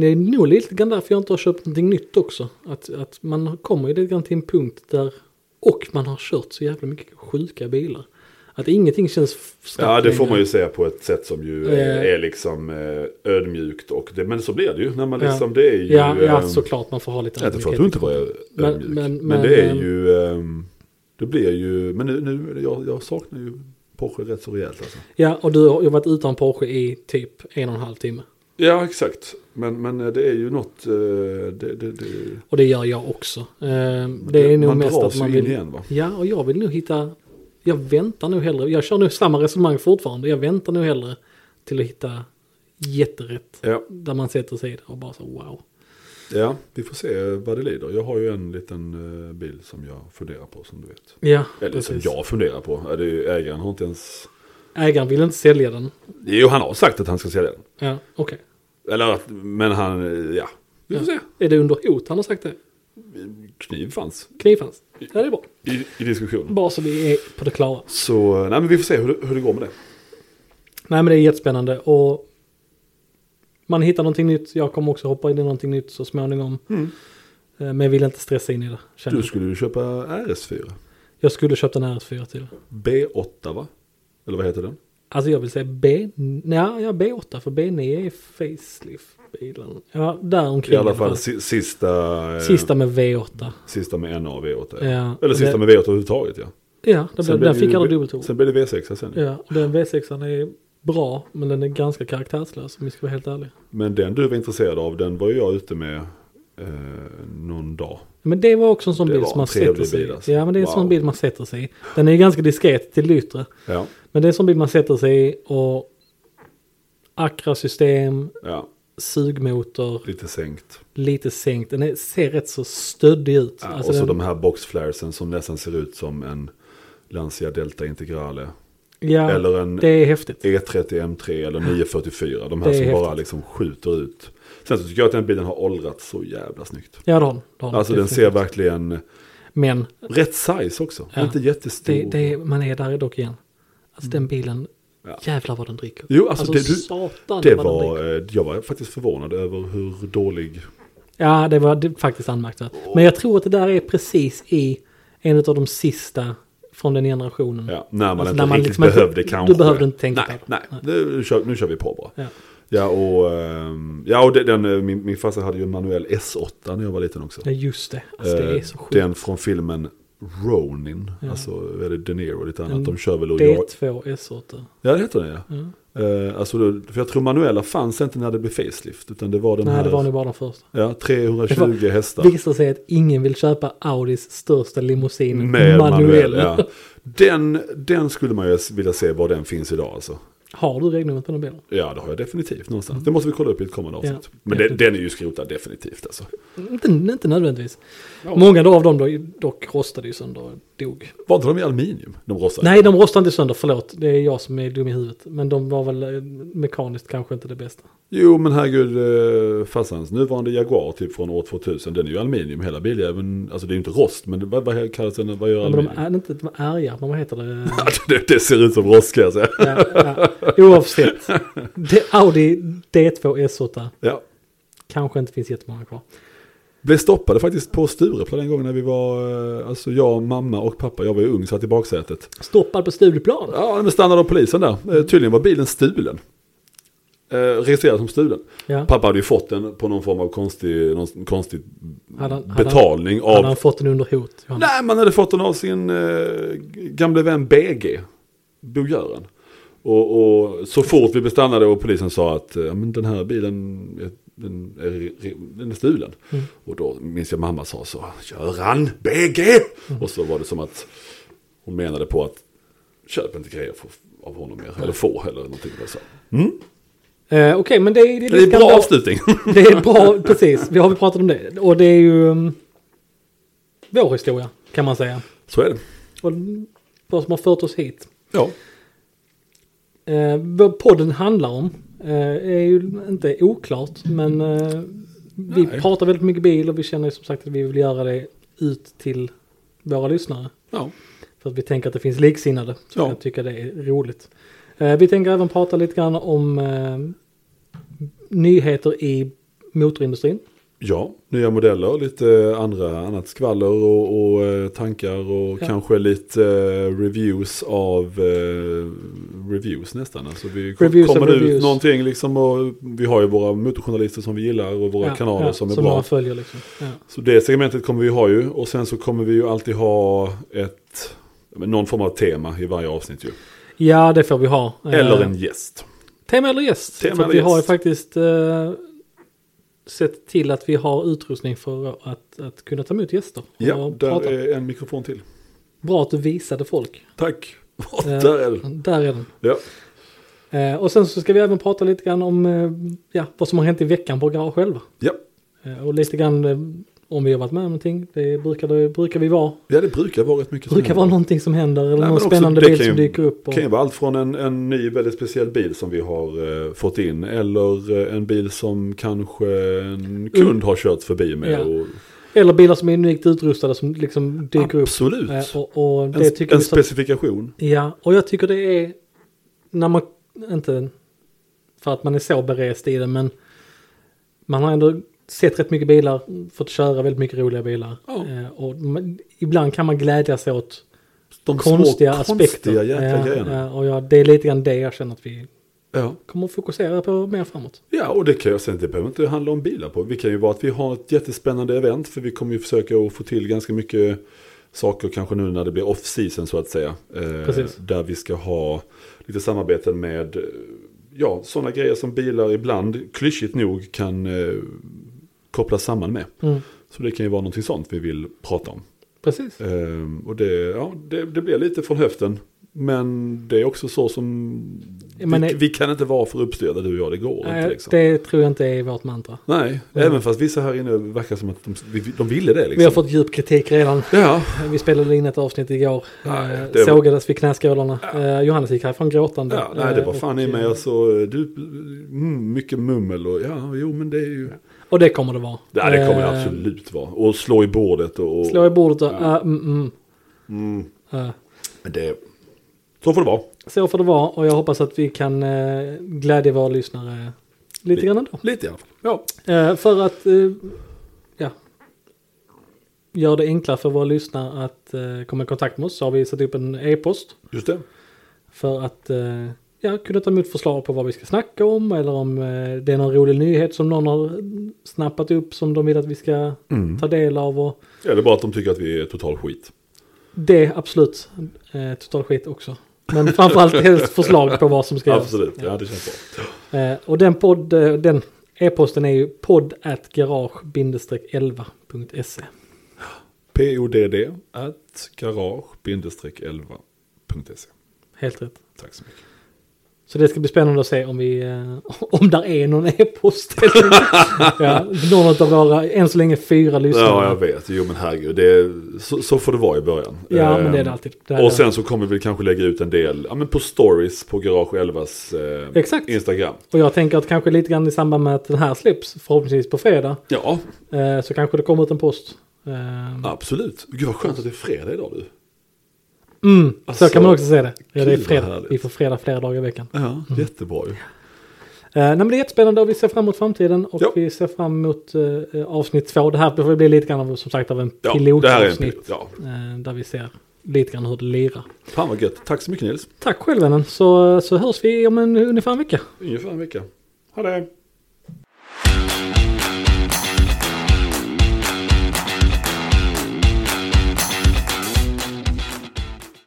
Speaker 1: Det är nog lite grann därför jag inte har köpt någonting nytt också. Att, att man kommer ju lite grann till en punkt där och man har kört så jävla mycket sjuka bilar. Att ingenting känns f- snabbt
Speaker 2: Ja, det får
Speaker 1: längre.
Speaker 2: man ju säga på ett sätt som ju eh,
Speaker 1: Eh.
Speaker 2: är liksom eh, ödmjukt. Och det, men så blir det ju. När man
Speaker 1: Ja.
Speaker 2: liksom, det är ju...
Speaker 1: Ja, ja
Speaker 2: ehm,
Speaker 1: såklart man får ha lite
Speaker 2: Nej, det får
Speaker 1: ödmjukhet.
Speaker 2: jag inte vara
Speaker 1: Men-
Speaker 2: ödmjuk. Men,
Speaker 1: men- men,
Speaker 2: det är
Speaker 1: ehm,
Speaker 2: ju... ehm, Det blir ju... Men nu, nu jag, jag saknar ju Porsche rätt så rejält alltså.
Speaker 1: Ja, och du har ju varit utan Porsche i typ en och en halv timme.
Speaker 2: Ja, exakt. Men, men det är ju något... eh, Det, det, det,
Speaker 1: Och det gör jag också. Ehm, Det är nog
Speaker 2: man
Speaker 1: mest
Speaker 2: dras
Speaker 1: att man
Speaker 2: ju
Speaker 1: vill...
Speaker 2: in igen va?
Speaker 1: Ja, och jag vill nog hitta... Jag väntar nog hellre. Jag kör nu samma resonemang fortfarande. Jag väntar nog hellre till att hitta jätterätt.
Speaker 2: Ja,
Speaker 1: Där man sätter sig i det och bara så wow.
Speaker 2: ja, vi får se vad det lider. Jag har ju en liten eh, bil som jag funderar på som du vet.
Speaker 1: Ja,
Speaker 2: Eller
Speaker 1: precis.
Speaker 2: som jag funderar på. Ja, Det är ju, ägaren har inte ens...
Speaker 1: Ägaren vill inte sälja den.
Speaker 2: Jo, han har sagt att han ska sälja den.
Speaker 1: Ja, okej.
Speaker 2: Eller att, men han, eh, ja. Vi får se.
Speaker 1: Är det under hot han har sagt det?
Speaker 2: Kniv fanns
Speaker 1: Knivhands? Ja, det är bra.
Speaker 2: i, i diskussionen.
Speaker 1: Bara så vi är på det klara.
Speaker 2: Så, nej men vi får se hur, det- hur det går med det.
Speaker 1: Nej men det är jättespännande och man hittar någonting nytt. Jag kommer också hoppa in i någonting nytt så småningom.
Speaker 2: Mm.
Speaker 1: Eh, Men jag vill inte stressa in i det. känner
Speaker 2: Du
Speaker 1: jag.
Speaker 2: skulle ju köpa RS4.
Speaker 1: Jag skulle köpt en RS4 till.
Speaker 2: B8 va? Eller vad heter den?
Speaker 1: Alltså jag vill säga B... Nej, ja, B8 för B9 är facelift-bilen. Ja, där omkring.
Speaker 2: I alla fall si- sista, eh,
Speaker 1: Sista med V8.
Speaker 2: sista med NA och V8. Ja.
Speaker 1: Ja,
Speaker 2: Eller sista
Speaker 1: det,
Speaker 2: med V8 överhuvudtaget ja.
Speaker 1: Ja, den, blev,
Speaker 2: blev
Speaker 1: den
Speaker 2: det
Speaker 1: fick
Speaker 2: ju
Speaker 1: alla
Speaker 2: V-
Speaker 1: dubbeltor.
Speaker 2: Sen blev det V6 sen. Ja.
Speaker 1: Ja, den V6an är bra, men den är ganska karaktärslös om vi ska vara helt ärliga.
Speaker 2: Men den du var intresserad av, den var ju jag ute med eh, någon dag.
Speaker 1: Men det var också en sån
Speaker 2: Det
Speaker 1: bil
Speaker 2: var
Speaker 1: som man
Speaker 2: en trevlig
Speaker 1: sätter sig i.
Speaker 2: bil, alltså.
Speaker 1: Ja, men det är en sån
Speaker 2: Wow.
Speaker 1: bil man sätter sig i. Den är ju ganska diskret till det yttre.
Speaker 2: Ja,
Speaker 1: Men det är en sån bil man sätter sig i och Acra system,
Speaker 2: ja.
Speaker 1: sugmotor,
Speaker 2: Lite sänkt.
Speaker 1: lite sänkt. Den är, ser rätt så stöddig ut.
Speaker 2: Ja,
Speaker 1: Alltså
Speaker 2: och så
Speaker 1: den-
Speaker 2: de här boxflaresen som nästan ser ut som en Lancia Delta Integrale.
Speaker 1: ja,
Speaker 2: eller en-
Speaker 1: det är häftigt.
Speaker 2: E E30 M3 eller 944. De
Speaker 1: Det
Speaker 2: här
Speaker 1: är
Speaker 2: som bara
Speaker 1: häftigt.
Speaker 2: liksom skjuter ut. Sen så tycker jag att den bilen har åldrats så jävla snyggt.
Speaker 1: Ja, det har den. Det har
Speaker 2: Alltså den ser
Speaker 1: definitivt.
Speaker 2: verkligen
Speaker 1: Men
Speaker 2: rätt size också.
Speaker 1: Ja.
Speaker 2: Inte jättestor.
Speaker 1: det, det, man är där dock igen. Alltså den bilen,
Speaker 2: Mm. Ja.
Speaker 1: jävlar vad den dricker.
Speaker 2: Jo, alltså, det- du-
Speaker 1: satan
Speaker 2: Det
Speaker 1: vad den dricker.
Speaker 2: var, eh, jag var faktiskt förvånad över hur dålig,
Speaker 1: Ja, det var det, faktiskt anmärkningsvärt. Men jag tror att det där är precis i en av de sista från den generationen.
Speaker 2: ja, när man
Speaker 1: Alltså,
Speaker 2: inte
Speaker 1: när man
Speaker 2: riktigt
Speaker 1: liksom inte-
Speaker 2: behövde
Speaker 1: du
Speaker 2: kanske.
Speaker 1: behövde inte tänka
Speaker 2: nej,
Speaker 1: på det.
Speaker 2: nej, det. Nu kör, nu kör vi på bara.
Speaker 1: Ja.
Speaker 2: Ja, och, ehm, ja, och det- den, eh, min, min farsa hade ju en manuell S8 när jag var liten också.
Speaker 1: Ja, just det. Alltså, det är
Speaker 2: Eh,
Speaker 1: så sjukt.
Speaker 2: Den från filmen Ronin,
Speaker 1: Ja. Mm.
Speaker 2: alltså är det De Niro och lite annat.
Speaker 1: En
Speaker 2: De kör väl och jag...
Speaker 1: D2 S8.
Speaker 2: Ja, det heter den ja.
Speaker 1: Mm.
Speaker 2: Eh, alltså, då- för jag tror manuella fanns inte när det blev facelift, utan det var den
Speaker 1: Nej,
Speaker 2: här
Speaker 1: det var nog bara den första.
Speaker 2: ja, 320 hästar.
Speaker 1: Visar sig att ingen vill köpa Audis största limousin
Speaker 2: Med manuell,
Speaker 1: manuell.
Speaker 2: ja. Den, den skulle man ju vilja se var den finns idag alltså.
Speaker 1: Har du regnumret på den bilen?
Speaker 2: Ja, det har jag definitivt någonstans. Det måste vi kolla upp i ett kommande
Speaker 1: Mm. Ja,
Speaker 2: avsnitt. Men den,
Speaker 1: definitivt.
Speaker 2: den är ju skrotad definitivt alltså.
Speaker 1: Mm, Inte, inte nödvändigtvis. Många av dem då, dock rostade ju sönder och dog.
Speaker 2: Var inte de i aluminium? De rostade.
Speaker 1: Nej, de rostade inte sönder, förlåt. Det är jag som är dum i huvudet. Men de var väl eh, mekaniskt kanske inte det bästa.
Speaker 2: Jo, men herregud, eh, farsans nuvarande Jaguar typ från år 2000, den är ju aluminium hela biljäveln. Alltså det är ju inte rost, men vad, vad kallas den? Vad gör
Speaker 1: Ja, men de
Speaker 2: aluminium?
Speaker 1: är inte de är arga, men vad heter det?
Speaker 2: det, det ser ut som rost kan jag säga.
Speaker 1: Ja, ja. Oavsett. Det, Audi D2 S8
Speaker 2: Ja.
Speaker 1: kanske inte finns jättemånga kvar.
Speaker 2: Blev stoppade faktiskt på Stureplan en gång när vi var, eh, alltså jag, mamma och pappa, jag var ju ung, satt i baksätet.
Speaker 1: Stoppad på Stureplan.
Speaker 2: Ja, men stannade av polisen där. Eh, Tydligen var bilen stulen. Eh, registrerad som stulen.
Speaker 1: Ja.
Speaker 2: Pappa hade ju fått den på någon form av konstig, någon konstig
Speaker 1: Hade han- hade han-
Speaker 2: betalning
Speaker 1: Hade
Speaker 2: av
Speaker 1: han fått den under hot? Johannes?
Speaker 2: Nej, man hade fått den av sin eh, gamle vän BG, Bo-Göran. Och, och så fort vi bestannade och polisen sa att eh, ja, men den här bilen eh, den är, re- den är stulen. Och då minns jag mamma sa så, Göran, BG! Och så var det som att hon menade på att köp inte grejer för, av honom mer, eller få eller någonting. där Så.
Speaker 1: Eh, Okej, men det, är- det,
Speaker 2: Det är en
Speaker 1: lite
Speaker 2: bra
Speaker 1: ändå-
Speaker 2: avslutning.
Speaker 1: Det är bra, precis. Vi har väl pratat om det. Och det är ju um, vår historia, kan man säga.
Speaker 2: så är det.
Speaker 1: Och vad som har fört oss hit.
Speaker 2: Ja,
Speaker 1: Eh, vad podden handlar om eh, är ju inte oklart, men eh, vi
Speaker 2: Nej.
Speaker 1: pratar väldigt mycket bil och vi känner ju som sagt att vi vill göra det ut till våra lyssnare.
Speaker 2: ja.
Speaker 1: För att vi tänker att det finns liksinnade som
Speaker 2: Ja.
Speaker 1: kan tycka det är roligt. Eh, vi tänker även prata lite grann om eh, nyheter i motorindustrin.
Speaker 2: Ja, nya modeller, lite eh, andra, annat skvaller och, och eh, tankar och
Speaker 1: Ja.
Speaker 2: kanske lite eh, reviews av eh, reviews nästan. Alltså vi kom-
Speaker 1: Reviews av
Speaker 2: kommer ut
Speaker 1: reviews.
Speaker 2: någonting liksom och vi har ju våra motorjournalister som vi gillar och våra
Speaker 1: Ja,
Speaker 2: kanaler
Speaker 1: ja,
Speaker 2: som är
Speaker 1: som
Speaker 2: bra.
Speaker 1: några följer liksom. Ja.
Speaker 2: Så det segmentet kommer vi ha ju och sen så kommer vi ju alltid ha ett, ja, men någon form av tema i varje avsnitt ju.
Speaker 1: ja, det får vi ha. Eh,
Speaker 2: Eller en gäst.
Speaker 1: Tema eller gäst.
Speaker 2: Tema
Speaker 1: för att
Speaker 2: eller
Speaker 1: vi har ju
Speaker 2: gäst.
Speaker 1: faktiskt eh, sett till att vi har utrustning för att, att kunna ta emot gäster. och
Speaker 2: Ja, där
Speaker 1: prata.
Speaker 2: är en mikrofon till.
Speaker 1: Bra att du visade folk.
Speaker 2: Tack.
Speaker 1: Eh,
Speaker 2: där är den.
Speaker 1: Där är den.
Speaker 2: Ja.
Speaker 1: Eh, och sen så ska vi även prata lite grann om eh, ja, vad som har hänt i veckan på Garage själva.
Speaker 2: Ja.
Speaker 1: Eh, och lite grann eh, om vi har varit med om någonting. Det brukar, det brukar vi vara.
Speaker 2: ja, det brukar vara rätt mycket
Speaker 1: Det brukar
Speaker 2: sådana.
Speaker 1: vara någonting som händer eller
Speaker 2: Mm. Nej, men
Speaker 1: någon
Speaker 2: också,
Speaker 1: spännande
Speaker 2: det
Speaker 1: bild
Speaker 2: kan ju-
Speaker 1: som dyker upp. Och,
Speaker 2: Det kan ju vara allt från en, en ny väldigt speciell bil som vi har eh, fått in eller eh, en bil som kanske en kund har kört förbi med.
Speaker 1: Ja.
Speaker 2: Och,
Speaker 1: Eller bilar som är unikt utrustade som liksom dyker
Speaker 2: absolut.
Speaker 1: upp. Eh, och, och det
Speaker 2: en
Speaker 1: tycker
Speaker 2: en
Speaker 1: vi så-
Speaker 2: specifikation.
Speaker 1: Ja, och jag tycker det är när man inte för att man är så berest i det, men man har ändå sett rätt mycket bilar, fått köra väldigt mycket roliga bilar.
Speaker 2: Ja.
Speaker 1: Eh, och man, ibland kan man glädjas åt
Speaker 2: De
Speaker 1: konstiga
Speaker 2: små,
Speaker 1: aspekter.
Speaker 2: konstiga jäkla
Speaker 1: ja,
Speaker 2: grejerna.
Speaker 1: Ja, och jag, det är lite grann det jag känner att vi
Speaker 2: Ja.
Speaker 1: kommer att fokusera på mer framåt.
Speaker 2: Ja, och det kan jag sen, det behöver inte handla om bilar på. Vi kan ju vara att vi har ett jättespännande event, för vi kommer ju försöka att få till ganska mycket saker, kanske nu när det blir off-season så att säga. Eh,
Speaker 1: Precis.
Speaker 2: Där vi ska ha lite samarbeten med, eh, ja, sådana grejer som bilar ibland, klyschigt nog, kan eh, kopplas samman med.
Speaker 1: Mm.
Speaker 2: Så det kan ju vara någonting sånt vi vill prata om.
Speaker 1: Precis.
Speaker 2: Eh, och det, ja, det, det blir lite från höften. Men det är också så som...
Speaker 1: Men
Speaker 2: vi,
Speaker 1: det-
Speaker 2: vi kan inte vara för uppstyrda du och jag, det går inte
Speaker 1: Nej,
Speaker 2: liksom.
Speaker 1: det tror jag inte är vårt mantra.
Speaker 2: Nej,
Speaker 1: Mm.
Speaker 2: även fast vissa här inne verkar som att de, vi- de ville det liksom.
Speaker 1: Vi har fått djup kritik redan.
Speaker 2: Ja,
Speaker 1: Vi spelade in ett avsnitt igår.
Speaker 2: Nej,
Speaker 1: eh,
Speaker 2: det var-
Speaker 1: Sågades vid knäskålarna. Eh, Johannes gick härifrån gråtande.
Speaker 2: ja nej, det var
Speaker 1: Eh,
Speaker 2: fan
Speaker 1: och,
Speaker 2: i mig.
Speaker 1: eh,
Speaker 2: Alltså, du, mm, mycket mummel och ja, jo men det är ju...
Speaker 1: Och det kommer det vara.
Speaker 2: Ja, det kommer det
Speaker 1: Eh,
Speaker 2: absolut vara. Och slå i bordet och... och
Speaker 1: Slå i bordet och...
Speaker 2: Ja.
Speaker 1: eh, mm, mm.
Speaker 2: Mm,
Speaker 1: Eh,
Speaker 2: men det... Så får det vara.
Speaker 1: Så får det vara och jag hoppas att vi kan eh, glädja våra lyssnare lite
Speaker 2: Li-
Speaker 1: grann ändå.
Speaker 2: Lite i alla fall. Ja.
Speaker 1: Eh, för att eh, ja, göra det enklare för våra lyssnare att eh, komma i kontakt med oss så har vi satt upp en e-post
Speaker 2: Just det.
Speaker 1: för att eh, ja, kunna ta emot förslag på vad vi ska snacka om eller om eh, det är någon rolig nyhet som någon har snappat upp som de vill att vi ska
Speaker 2: Mm.
Speaker 1: ta del av. Och
Speaker 2: Eller bara att de tycker att vi är total skit.
Speaker 1: det absolut eh, total skit också. Men framförallt helst förslag på vad som ska göras.
Speaker 2: Absolut, ja det känns bra.
Speaker 1: Eh, och den podd, eh, den e-posten är ju podd@garage-11.se.
Speaker 2: Podd at garage-11.se.
Speaker 1: Helt rätt.
Speaker 2: E. Tack så mycket.
Speaker 1: Så det ska bli spännande att se om vi, eh, om där är någon e-post. ja, någon av våra, än så länge fyra lyssnare.
Speaker 2: Ja, jag vet. Jo, men herregud. Det är, så, så får det vara i början.
Speaker 1: Ja,
Speaker 2: Ehm,
Speaker 1: men det är det alltid. Det är
Speaker 2: Och
Speaker 1: det.
Speaker 2: sen så kommer vi kanske lägga ut en del ja, men på stories på Garage 11s eh,
Speaker 1: Exakt.
Speaker 2: Instagram.
Speaker 1: Och jag tänker att kanske lite grann i samband med att den här släpps, förhoppningsvis på fredag,
Speaker 2: Ja,
Speaker 1: eh, så kanske det kommer ut en post. Eh,
Speaker 2: absolut. Gud vad skönt att det är fredag idag du.
Speaker 1: mm,
Speaker 2: Alltså,
Speaker 1: så kan man också se det. Ja, det är
Speaker 2: kul, vad
Speaker 1: fredag.
Speaker 2: härligt.
Speaker 1: Vi får fredag flera dagar i veckan.
Speaker 2: Ja, Mm. jättebra ju.
Speaker 1: Eh, nej, men det är jättespännande och vi ser fram emot framtiden och
Speaker 2: Ja.
Speaker 1: vi ser fram emot eh, avsnitt två. Det här behöver bli lite grann av, som sagt av en
Speaker 2: Ja, det här är en
Speaker 1: pilotavsnitt.
Speaker 2: pilot. Ja.
Speaker 1: eh, där vi ser lite grann hur det lirar.
Speaker 2: Fan vad gött. Tack så mycket Nils.
Speaker 1: Tack själv vännen, eh, så, så hörs vi om en, ungefär en vecka.
Speaker 2: Ungefär en vecka. Ha det.